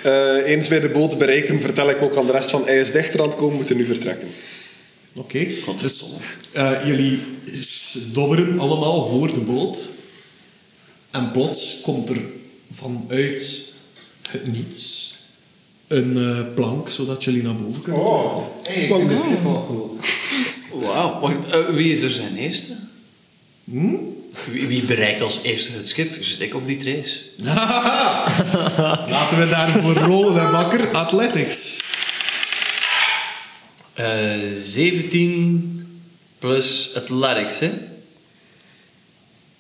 Speaker 5: Eh, eens bij de boot bereiken, vertel ik ook aan de rest van hij is dichter aan het komen, moeten nu vertrekken.
Speaker 1: Oké, dus eh, jullie s- dobberen allemaal voor de boot. En plots komt er vanuit het niets een eh, plank, zodat jullie naar boven kunnen.
Speaker 4: Oh, hey, ik vind dit wel cool.
Speaker 6: Wauw, wacht, eh, wie is er zijn eerste? Hm? Wie, wie bereikt als eerste het schip? Is het ik of die Trace?
Speaker 1: Laten we daarvoor rollen, hè, makker. Athletics.
Speaker 6: Eh, 17 plus athletics, hè?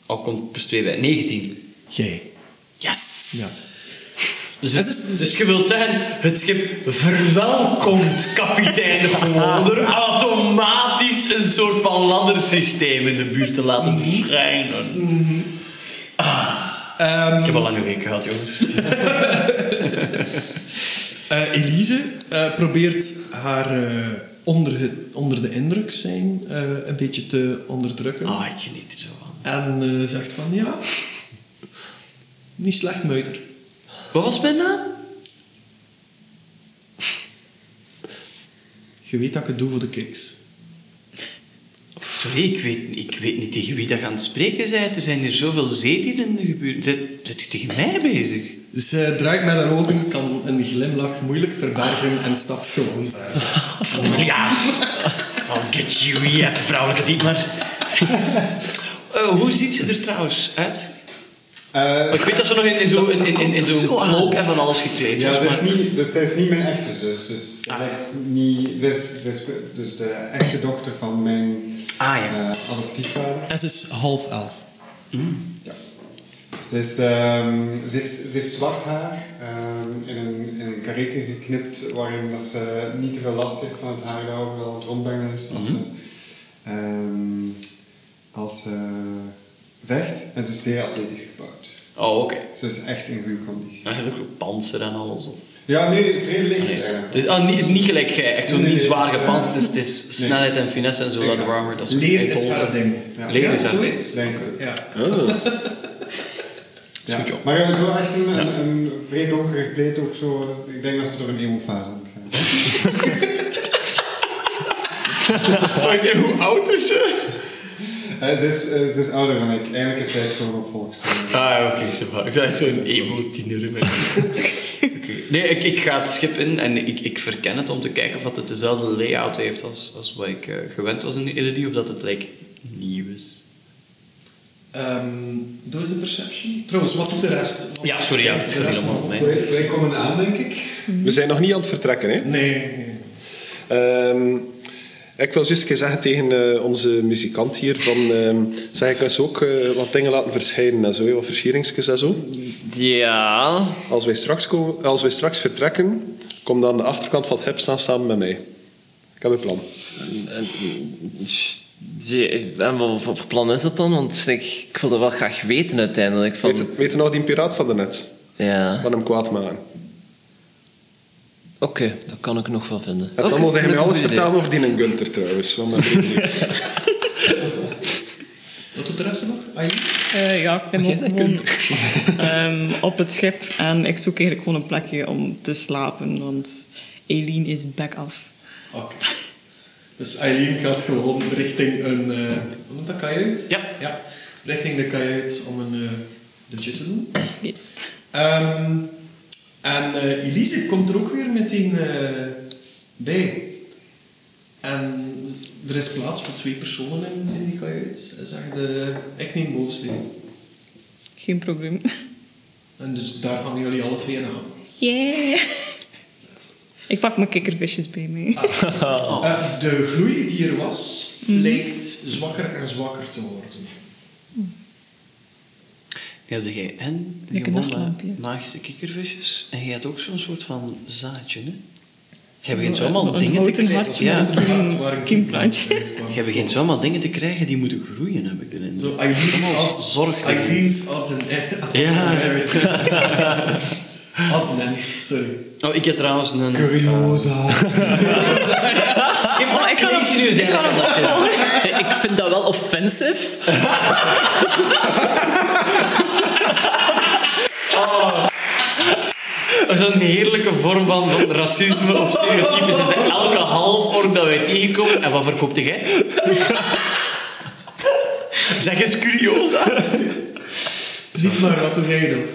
Speaker 6: Al komt plus 2 bij. 19.
Speaker 1: Jij.
Speaker 6: Yes!
Speaker 1: Ja.
Speaker 6: Dus,
Speaker 1: Het is-
Speaker 6: dus je wilt zeggen, het schip verwelkomt kapitein Volder automatisch een soort van laddersysteem in de buurt te laten verschijnen.
Speaker 1: Ehm,
Speaker 6: Ik heb al lange week gehad, jongens.
Speaker 1: Eh, Elise eh, probeert haar eh, onder, het- onder de indruk zijn eh, een beetje te onderdrukken.
Speaker 6: Ah, ik geniet er zo van.
Speaker 1: En eh, zegt van ja, niet slecht muiter.
Speaker 6: Wat was mijn naam?
Speaker 1: Je weet dat ik het doe voor de kiks.
Speaker 6: Sorry, ik weet, ik weet niet tegen wie dat je aan het spreken bent. Er zijn hier zoveel zeedieren in de gebuurt. Zit zit u tegen mij bezig?
Speaker 1: Ze draait met haar ogen, kan een glimlach moeilijk verbergen en stapt gewoon verder.
Speaker 6: Ja. I'll get you yet, vrouwelijke diepmer. Eh hoe ziet ze er trouwens uit?
Speaker 4: Eh,
Speaker 6: Ik weet dat ze nog in, in zo'n in, in, in, in zo'n cloak en van alles gekleed
Speaker 4: ja,
Speaker 6: was.
Speaker 4: ze is,
Speaker 6: maar-
Speaker 4: niet, dus zij is niet mijn echte zus. Dus, ze
Speaker 6: Ah.
Speaker 4: lijkt niet, ze is, ze is dus de echte dochter van mijn
Speaker 6: Ah, ja.
Speaker 4: eh, adoptiefvader.
Speaker 1: En ze is half elf.
Speaker 4: Ja. Ze, is, ehm, ze, heeft, ze heeft zwart haar ehm, in een, in een karretje geknipt waarin dat ze niet te veel last heeft van het haar dat overal aan het rondbrengen is.
Speaker 6: Mhm.
Speaker 4: Als ze, ehm, als ze vecht en ze is zeer atletisch gebouwd.
Speaker 6: Oh, oké.
Speaker 4: Ze is echt in goede conditie.
Speaker 6: Dan heb ik ook panzer en alles. Of...
Speaker 4: Ja, nee, vrij licht
Speaker 6: Nee.
Speaker 4: eigenlijk.
Speaker 6: Dus, ah, niet, niet gelijk jij, echt zo
Speaker 4: Nee, nee,
Speaker 6: niet
Speaker 4: nee,
Speaker 6: zwaar
Speaker 4: dus, eh,
Speaker 6: gepantserd. Het is, het is
Speaker 4: nee.
Speaker 6: snelheid en finesse en zo, dat
Speaker 4: Exact.
Speaker 6: warmer. Dat is
Speaker 1: Leer
Speaker 6: geen
Speaker 1: is haar
Speaker 6: golven.
Speaker 1: ding.
Speaker 4: Ja.
Speaker 6: Leer is
Speaker 1: Ja,
Speaker 6: haar ding.
Speaker 1: zoiets.
Speaker 4: Denk ik.
Speaker 1: Ja.
Speaker 4: Ja.
Speaker 6: goed, joh.
Speaker 4: Maar we hebben zo echt een, een, een vrij donker kleed ook zo. Ik denk dat ze door een emo-fase aan het gaan.
Speaker 6: En hoe oud is ze?
Speaker 4: Eh, ze, is, eh, ze is ouder dan ik. Eigenlijk is zij het gewoon op volkstemmen.
Speaker 6: Ah, oké, ze va. Ik dacht zo'n emo-tiener. maar- Oké. Nee, ik, ik ga het schip in en ik, ik verken het om te kijken of dat het dezelfde layout heeft als, als wat ik eh, gewend was in de Illidie, of dat het like, nieuw is.
Speaker 1: Ehm, doe eens een perception. Trouwens, wat doet de rest? Want-
Speaker 6: Ja, sorry, ja, het
Speaker 1: de
Speaker 6: gaat
Speaker 1: rest
Speaker 6: niet allemaal
Speaker 1: mag-
Speaker 6: om mij.
Speaker 4: Wij, wij komen aan, denk ik.
Speaker 5: We zijn nog niet aan het vertrekken, hè?
Speaker 1: Nee, nee.
Speaker 5: Ehm, ik wil juist een keer zeggen tegen eh, onze muzikant hier, van, ehm zeg ik eens ook eh, wat dingen laten verschijnen en zo, hè, wat versieringsjes en zo.
Speaker 2: Ja,
Speaker 5: Als wij straks, ko- als wij straks vertrekken, kom dan aan de achterkant van het hip staan samen met mij. Ik heb een plan.
Speaker 2: die- en wat wat voor plan is dat dan? Want ik, ik wil dat wel graag weten uiteindelijk. Van,
Speaker 5: Weet, je- weet je nog die piraat van daarnet?
Speaker 2: Ja,
Speaker 5: Van hem kwaad maken.
Speaker 2: oké, dat kan ik nog wel vinden.
Speaker 5: Het
Speaker 2: Oké,
Speaker 5: allemaal tegen mij
Speaker 2: dat
Speaker 5: alles
Speaker 2: is een goed
Speaker 5: vertellen over die en Gunther trouwens. Want mijn vriend niet.
Speaker 1: Wat doet de rest nog? Ah, Aileen?
Speaker 3: Eh, ja, ik ben ook gewoon ehm, op het schip en ik zoek eigenlijk gewoon een plekje om te slapen, want Eileen is back af.
Speaker 1: Oké. Dus Eileen gaat gewoon richting een... eh hoe noemt dat? Kajuit?
Speaker 6: Ja.
Speaker 1: ja. Richting de kajuit om een eh dutje te doen.
Speaker 3: Yes.
Speaker 1: Ehm, en eh, Elise komt er ook weer meteen eh, bij. En er is plaats voor twee personen in, in die kajuit. Hij zegt, eh, ik neem bovensteen.
Speaker 3: Geen probleem.
Speaker 1: En dus daar hangen jullie alle twee in de hand.
Speaker 3: Yeah! Ik pak mijn kikkervisjes bij me.
Speaker 1: Eh, de gloei die er was, lijkt zwakker en zwakker te worden.
Speaker 6: Nu heb jij en die
Speaker 3: Lekker
Speaker 6: gewonde
Speaker 3: nachtlampje.
Speaker 6: magische kikkervisjes en jij hebt ook zo'n soort van zaadje, hè? Jij
Speaker 3: Zo,
Speaker 6: begint zo
Speaker 3: eh,
Speaker 6: allemaal
Speaker 3: een
Speaker 6: dingen te
Speaker 3: houten
Speaker 6: krijgen.
Speaker 3: hartje
Speaker 6: Ja,
Speaker 3: met een-
Speaker 1: kindplantje.
Speaker 3: kindplantje.
Speaker 6: jij begint zo allemaal dingen te krijgen die moeten groeien, heb ik erin.
Speaker 1: Zo Eileen's als,
Speaker 6: zorg.
Speaker 1: Eileen's als een als
Speaker 6: Ja.
Speaker 1: een heritage. Als een end, sorry. Eh,
Speaker 6: Oh, ik heb trouwens een...
Speaker 4: Curiosa.
Speaker 6: Ik vond ik kan nu zijn.
Speaker 2: idee. Ik vind dat wel offensive.
Speaker 6: Dat is Oh. een heerlijke vorm van van racisme of stereotypes. En bij elke half ork dat wij tegenkomen. En wat verkoopt jij? Zeg eens curiosa.
Speaker 1: Niet maar wat doe jij nog?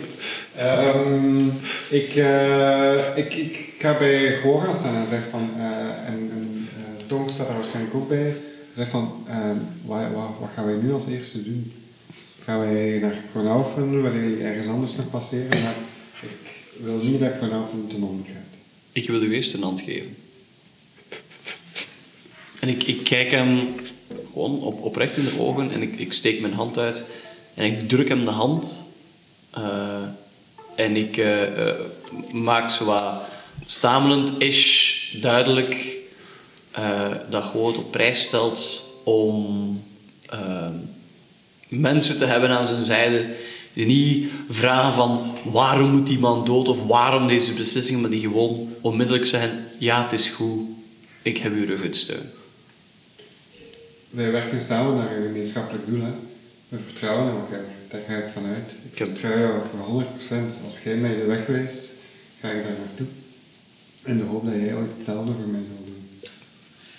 Speaker 4: Ehm, ik, eh, ik, ik ga bij Gora staan en zeg van, eh, en, en eh, Tom staat daar waarschijnlijk ook bij. Zeg van, ehm, wa- wa- wat gaan wij nu als eerste doen? Gaan wij naar Kronaufen, willen jullie ergens anders nog passeren? Maar ik wil niet dat Kronaufen ten onder gaat.
Speaker 6: Ik wil u eerst een hand geven. En ik, ik kijk hem gewoon op, oprecht in de ogen en ik, ik steek mijn hand uit en ik druk hem de hand. eh, En ik eh, eh, maak zo wat stamelend-ish duidelijk eh, dat God op prijs stelt om ehm, mensen te hebben aan zijn zijde die niet vragen van waarom moet die man dood of waarom deze beslissing, maar die gewoon onmiddellijk zeggen ja het is goed, ik heb uw ruggensteun.
Speaker 4: Wij werken samen naar een gemeenschappelijk doel. Hè. We vertrouwen in elkaar. Daar ga ik vanuit. Ik
Speaker 6: heb-
Speaker 4: vertrouw jou voor 100%. Dus als jij mij de weg wijst, ga ik daar naartoe. In de hoop dat jij ooit hetzelfde voor mij zal doen.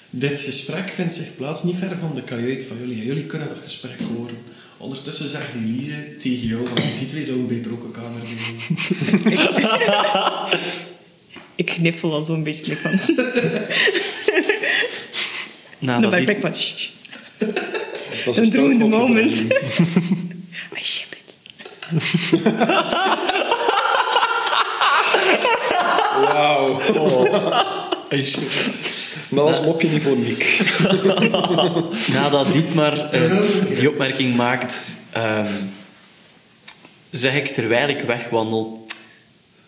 Speaker 1: Dit gesprek vindt zich plaats niet ver van de kajuit van jullie. En jullie kunnen dat gesprek horen. Ondertussen zegt Elise tegen jou van die twee zouden beter ook een kamer nemen.
Speaker 3: Ik kniffel al zo'n beetje van.
Speaker 6: Nadat
Speaker 3: Dan ben ik
Speaker 6: die-
Speaker 3: plek van. "Shh, shh."
Speaker 5: Dat was
Speaker 3: Een droevende
Speaker 5: stoutmopje voor
Speaker 3: moment.
Speaker 5: hen.
Speaker 3: I ship it.
Speaker 5: Wauw. Maar als mopje niet voor Nick.
Speaker 6: Nadat Dietmar eh, die opmerking maakt, ehm, zeg ik terwijl ik wegwandel: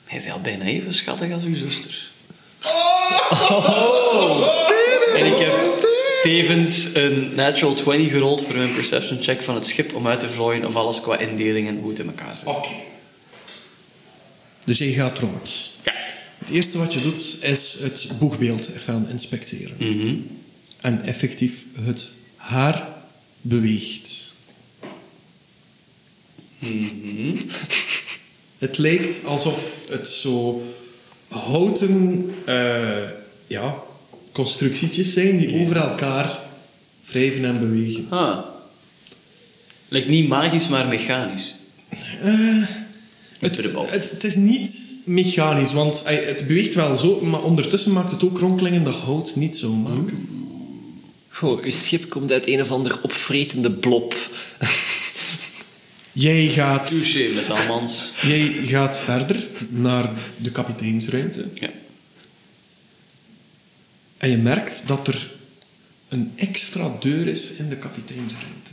Speaker 6: Hij is al bijna even schattig als uw zuster.
Speaker 1: Oh!
Speaker 6: En ik heb tevens een natural 20 gerold voor een perception check van het schip om uit te vlooien of alles qua indeling en hoe het in elkaar zit.
Speaker 1: Oké. Dus je gaat rond.
Speaker 6: Ja.
Speaker 1: Het eerste wat je doet is het boegbeeld gaan inspecteren.
Speaker 6: Mhm.
Speaker 1: En effectief, het haar beweegt.
Speaker 6: Mhm.
Speaker 1: Het lijkt alsof het zo houten eh, ja, constructietjes zijn die over elkaar wrijven en bewegen.
Speaker 6: Ah. Lijkt niet magisch, maar mechanisch.
Speaker 1: Eh, Het,
Speaker 6: Iedere bal.
Speaker 1: het, het is niet mechanisch, want ey, het beweegt wel zo, maar ondertussen maakt het ook kronkelingen dat hout niet zo maakt.
Speaker 6: Mhm.
Speaker 2: Goh, uw schip komt uit een of ander opvretende blob.
Speaker 1: Jij gaat,
Speaker 6: Touché met Almans.
Speaker 1: jij gaat verder naar de kapiteinsruimte.
Speaker 6: Ja.
Speaker 1: En je merkt dat er een extra deur is in de kapiteinsruimte.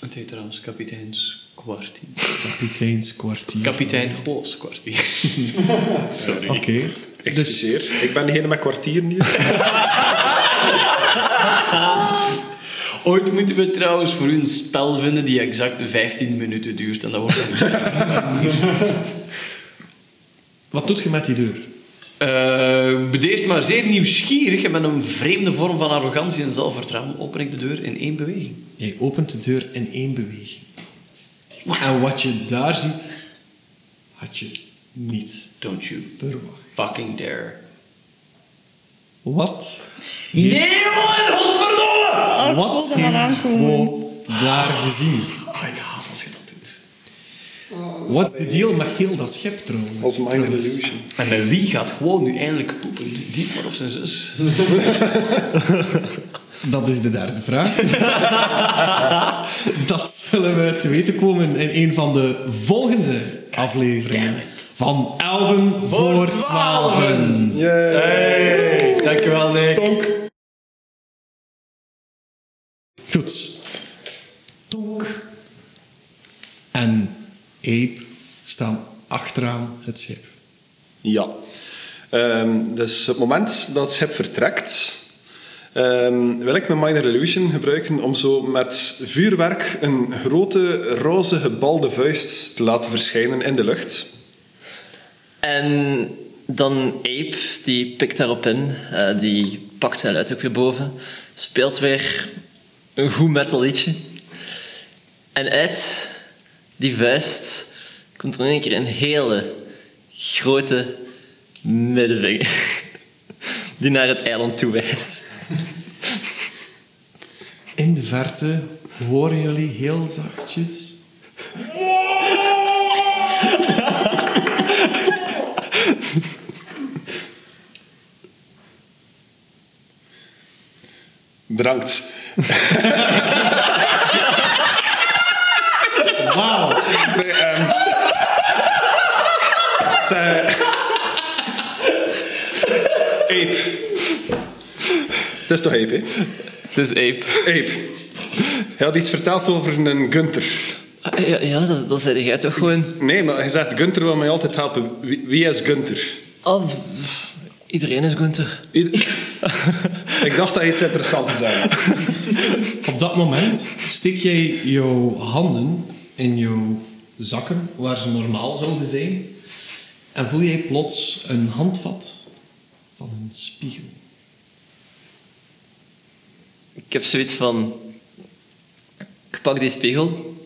Speaker 6: Het heet trouwens kapiteins kwartier.
Speaker 1: Kapiteinskwartier.
Speaker 6: Kapitein Goos kwartier. Hm. Oh. Sorry.
Speaker 1: Oké. Dus
Speaker 5: Excuseer, ik ben degene met kwartieren hier.
Speaker 6: Ooit moeten we trouwens voor u een spel vinden die exact 15 minuten duurt. En dat wordt dan-
Speaker 1: wat doet je met die deur?
Speaker 6: Eh, Bedeesd maar zeer nieuwsgierig en met een vreemde vorm van arrogantie en zelfvertrouwen open ik de deur in één beweging.
Speaker 1: Jij opent de deur in één beweging. En wat je daar ziet, had je niet
Speaker 6: Don't you
Speaker 1: verwacht.
Speaker 6: fucking dare.
Speaker 1: Wat?
Speaker 6: Nee, man, godverdomme!
Speaker 3: Ah, ik
Speaker 1: Wat
Speaker 3: voelde dat
Speaker 1: heeft
Speaker 3: aankomen.
Speaker 1: Quo daar gezien?
Speaker 6: Oh, ik haat als je dat doet.
Speaker 1: Wat is de deal met heel dat schip trouwens?
Speaker 5: Als Mind Illusion.
Speaker 6: En met wie gaat gewoon nu eindelijk poepen? Dietmar of zijn zus?
Speaker 1: Dat is de derde vraag. dat zullen we te weten komen in een van de volgende afleveringen. Van Elven voor Twaalfen.
Speaker 6: Hey, dankjewel Nick.
Speaker 1: Goed. Tonk en Ape staan achteraan het schip.
Speaker 5: Ja. Ehm, dus op het moment dat het schip vertrekt, ehm, wil ik mijn Minor Illusion gebruiken om zo met vuurwerk een grote roze gebalde vuist te laten verschijnen in de lucht.
Speaker 2: En dan Ape, die pikt daarop in. Eh, die pakt zijn luid ook weer boven. Speelt weer een goed metal liedje. En uit die vuist komt er in één keer een hele grote middenvinger. Die naar het eiland toe wijst.
Speaker 1: In de verte horen jullie heel zachtjes.
Speaker 5: Bedankt.
Speaker 1: Wauw!
Speaker 5: Nee, ehm. Zij- Ape. Het is toch ape, hè?
Speaker 2: Het is Ape.
Speaker 5: Ape. Hij had iets verteld over een Gunter.
Speaker 2: Ah, Ja, ja dat, dat zei jij toch gewoon.
Speaker 5: Nee, maar je zegt Gunther wil mij altijd helpen. Wie, wie is Gunther?
Speaker 2: Ah, pff, iedereen is Gunther.
Speaker 5: Ieder- ik dacht dat je iets interessants zei.
Speaker 1: Op dat moment steek jij jouw handen in jouw zakken, waar ze normaal zouden zijn, en voel jij plots een handvat van een spiegel.
Speaker 2: Ik heb zoiets van... Ik pak die spiegel.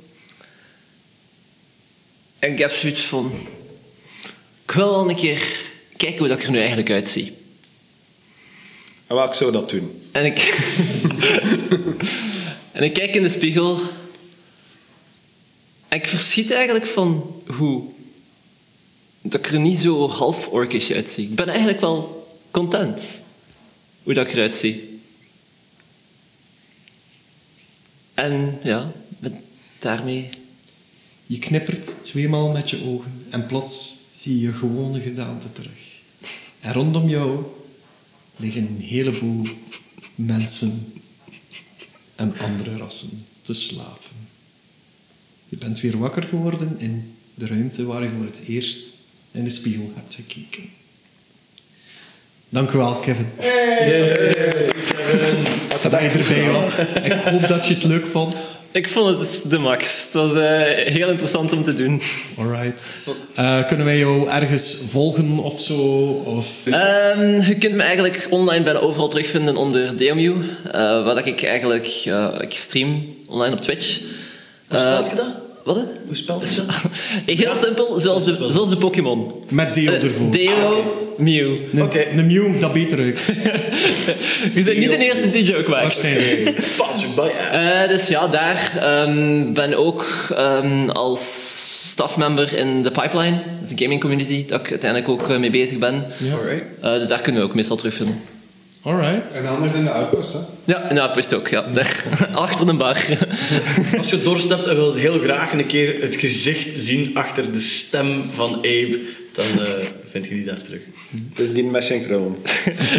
Speaker 2: En ik heb zoiets van... Ik wil al een keer kijken hoe dat ik er nu eigenlijk uitzie.
Speaker 5: En wel, ik zou dat doen.
Speaker 2: En ik... en ik kijk in de spiegel. En ik verschiet eigenlijk van hoe... Dat ik er niet zo half orkisch uitzie. Ik ben eigenlijk wel content. Hoe dat ik eruit zie. En ja, met- daarmee...
Speaker 1: Je knippert tweemaal met je ogen en plots zie je je gewone gedaante terug. En rondom jou liggen een heleboel mensen en andere rassen te slapen. Je bent weer wakker geworden in de ruimte waar je voor het eerst in de spiegel hebt gekeken. Dank u wel, Kevin. Dat je erbij was. Ik hoop dat je het leuk vond.
Speaker 2: Ik vond het dus de max. Het was eh, heel interessant om te doen.
Speaker 1: Alright. Eh, kunnen wij jou ergens volgen of zo? Of...
Speaker 2: Ehm, je kunt me eigenlijk online bijna overal terugvinden onder DMU. eh, waar dat ik eigenlijk eh, ik stream online op Twitch. Hoe
Speaker 6: spelt je dat?
Speaker 2: Wat? hè?
Speaker 6: Hoe spelt het wel?
Speaker 2: Heel simpel, zoals de, zoals de Pokémon.
Speaker 1: Met Deo
Speaker 2: Eh,
Speaker 1: ervoor.
Speaker 2: Deo, Mew.
Speaker 1: Een,
Speaker 6: Oké.
Speaker 1: een Mew dat beter ruikt.
Speaker 2: Je bent niet de eerste die joke maakt.
Speaker 1: Waarschijnlijk.
Speaker 6: Sponsored by
Speaker 2: Eh, dus ja, daar ehm, ben ook ehm, als staffmember in de Pipeline. Dat is een gaming community dat ik uiteindelijk ook eh, mee bezig ben.
Speaker 6: Alright.
Speaker 2: Eh, dus daar kunnen we ook meestal terugvinden.
Speaker 1: Alright.
Speaker 4: En anders in de outpost, hè?
Speaker 2: Ja, nou, wist ook. Ja. Daar, achter de bar.
Speaker 6: Als je dorst hebt en wil heel graag een keer het gezicht zien achter de stem van Abe, dan eh, vind je die daar terug.
Speaker 5: Dus die met synchroon.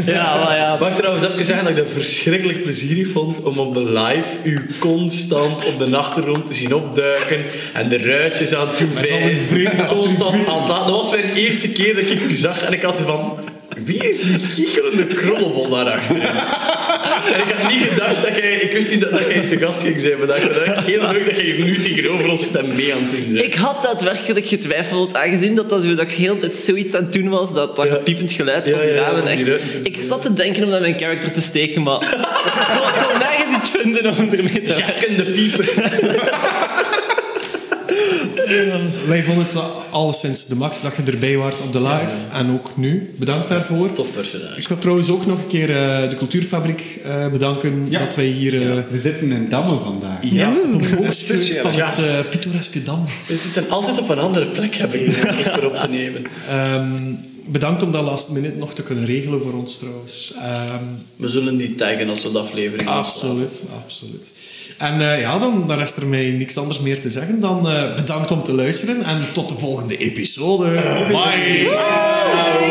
Speaker 2: Ja, maar ja.
Speaker 6: Nou Mag ik trouwens even zeggen dat ik dat verschrikkelijk plezierig vond om op de live u constant op de achtergrond te zien opduiken en de ruitjes aan het
Speaker 1: een vreemde
Speaker 6: toewijden. Constant aan het laten. Dat was mijn eerste keer dat ik u zag en ik had van... Wie is die kiekelende krollenbol daarachter? En ik had niet gedacht dat jij... Ik wist niet dat, dat jij te gast ging zijn vandaag. Maar dat ik heel leuk dat jij hier nu tegenover ons stem mee aan het doen bent.
Speaker 2: Ik had daadwerkelijk getwijfeld, aangezien dat, dat, zo- dat ik heel de tijd zoiets aan het doen was, dat, dat piepend geluid van
Speaker 6: Ja,
Speaker 2: die
Speaker 6: ja, ja,
Speaker 2: ramen.
Speaker 6: om die
Speaker 2: echt-
Speaker 6: ruiten te-
Speaker 2: ik zat te denken om dat in mijn character te steken, maar ik kon- ik kon nergens iets vinden om ermee te
Speaker 6: Jeffken de pieper.
Speaker 1: Wij vonden het al sinds de max dat je erbij waart op de live. En ook nu. Bedankt daarvoor.
Speaker 6: Tof personage.
Speaker 1: Ik wil trouwens ook nog een keer eh, de Cultuurfabriek eh, bedanken.
Speaker 4: Ja.
Speaker 1: Dat wij hier... eh,
Speaker 4: We zitten in Damme vandaag.
Speaker 1: ja, op een boogscheut
Speaker 5: Speciaal.
Speaker 1: van
Speaker 6: Ja.
Speaker 1: het eh, pittoreske Dam.
Speaker 6: We zitten altijd op een andere plek, hebben we om op te nemen.
Speaker 1: Ehm, bedankt om dat last minute nog te kunnen regelen voor ons trouwens. Ehm,
Speaker 6: We zullen die taggen als we de aflevering afsluiten.
Speaker 1: Absoluut, absoluut. En eh, ja, dan, dan rest er mij niks anders meer te zeggen dan eh, bedankt om te luisteren en tot de volgende episode. Bye!